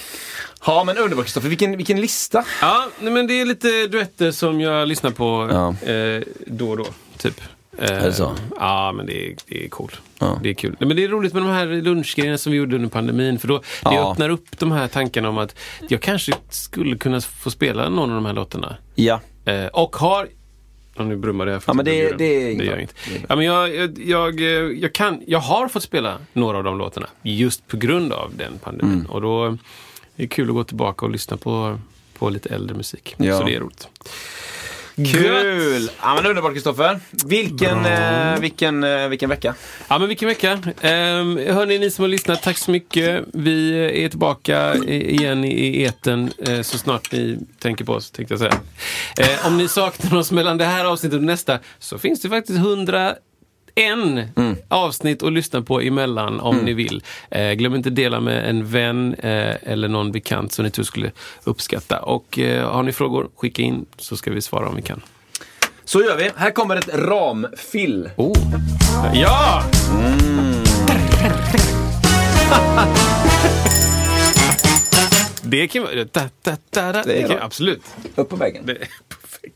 B: Ja, men underbart Kristoffer. Vilken, vilken lista.
C: Ja, nej, men det är lite duetter som jag lyssnar på
B: Ja.
C: eh, då och då, typ. Är
B: det så?
C: Ja, men det är, det är coolt.
B: Ja.
C: Det är kul. Nej, men det är roligt med de här lunchgrejerna som vi gjorde under pandemin. För då, det
B: Ja.
C: öppnar upp de här tankarna om att jag kanske skulle kunna få spela någon av de här låtarna.
B: Ja.
C: Eh, och har... Ja, nu brummar det här för
B: Ja, men
C: att
B: det-
C: jag bjuder.
B: det är inget
C: det gör
B: bra.
C: inget. Ja, men jag, jag, jag, eh, jag, kan, jag har fått spela några av de låtarna just på grund av den pandemin.
B: Mm.
C: Och då är det kul att gå tillbaka och lyssna på, på lite äldre musik.
B: Ja.
C: Så det är roligt.
B: Kul! Ja, men underbart Kristoffer. Vilken, eh, vilken, eh, vilken vecka.
C: Ja, men vilken vecka. Um, hörni, ni som har lyssnat, tack så mycket. Vi är tillbaka i- igen i- i eten eh, så snart ni tänker på oss, tänkte jag säga. Eh, om ni saknar oss mellan det här avsnittet och nästa så finns det faktiskt 101
B: Mm.
C: avsnitt att lyssna på emellan om ni vill. Eh, glöm inte dela med en vän eh, eller någon bekant som ni tror skulle uppskatta. Och eh, har ni frågor, skicka in så ska vi svara om vi kan.
B: Så gör vi. Här kommer ett ramfill.
C: Oh. Ja! Det kan vara... Da, da, da, da. Det
B: är
C: kan,
B: bra.
C: absolut.
B: Upp på vägen.
C: Det är perfekt.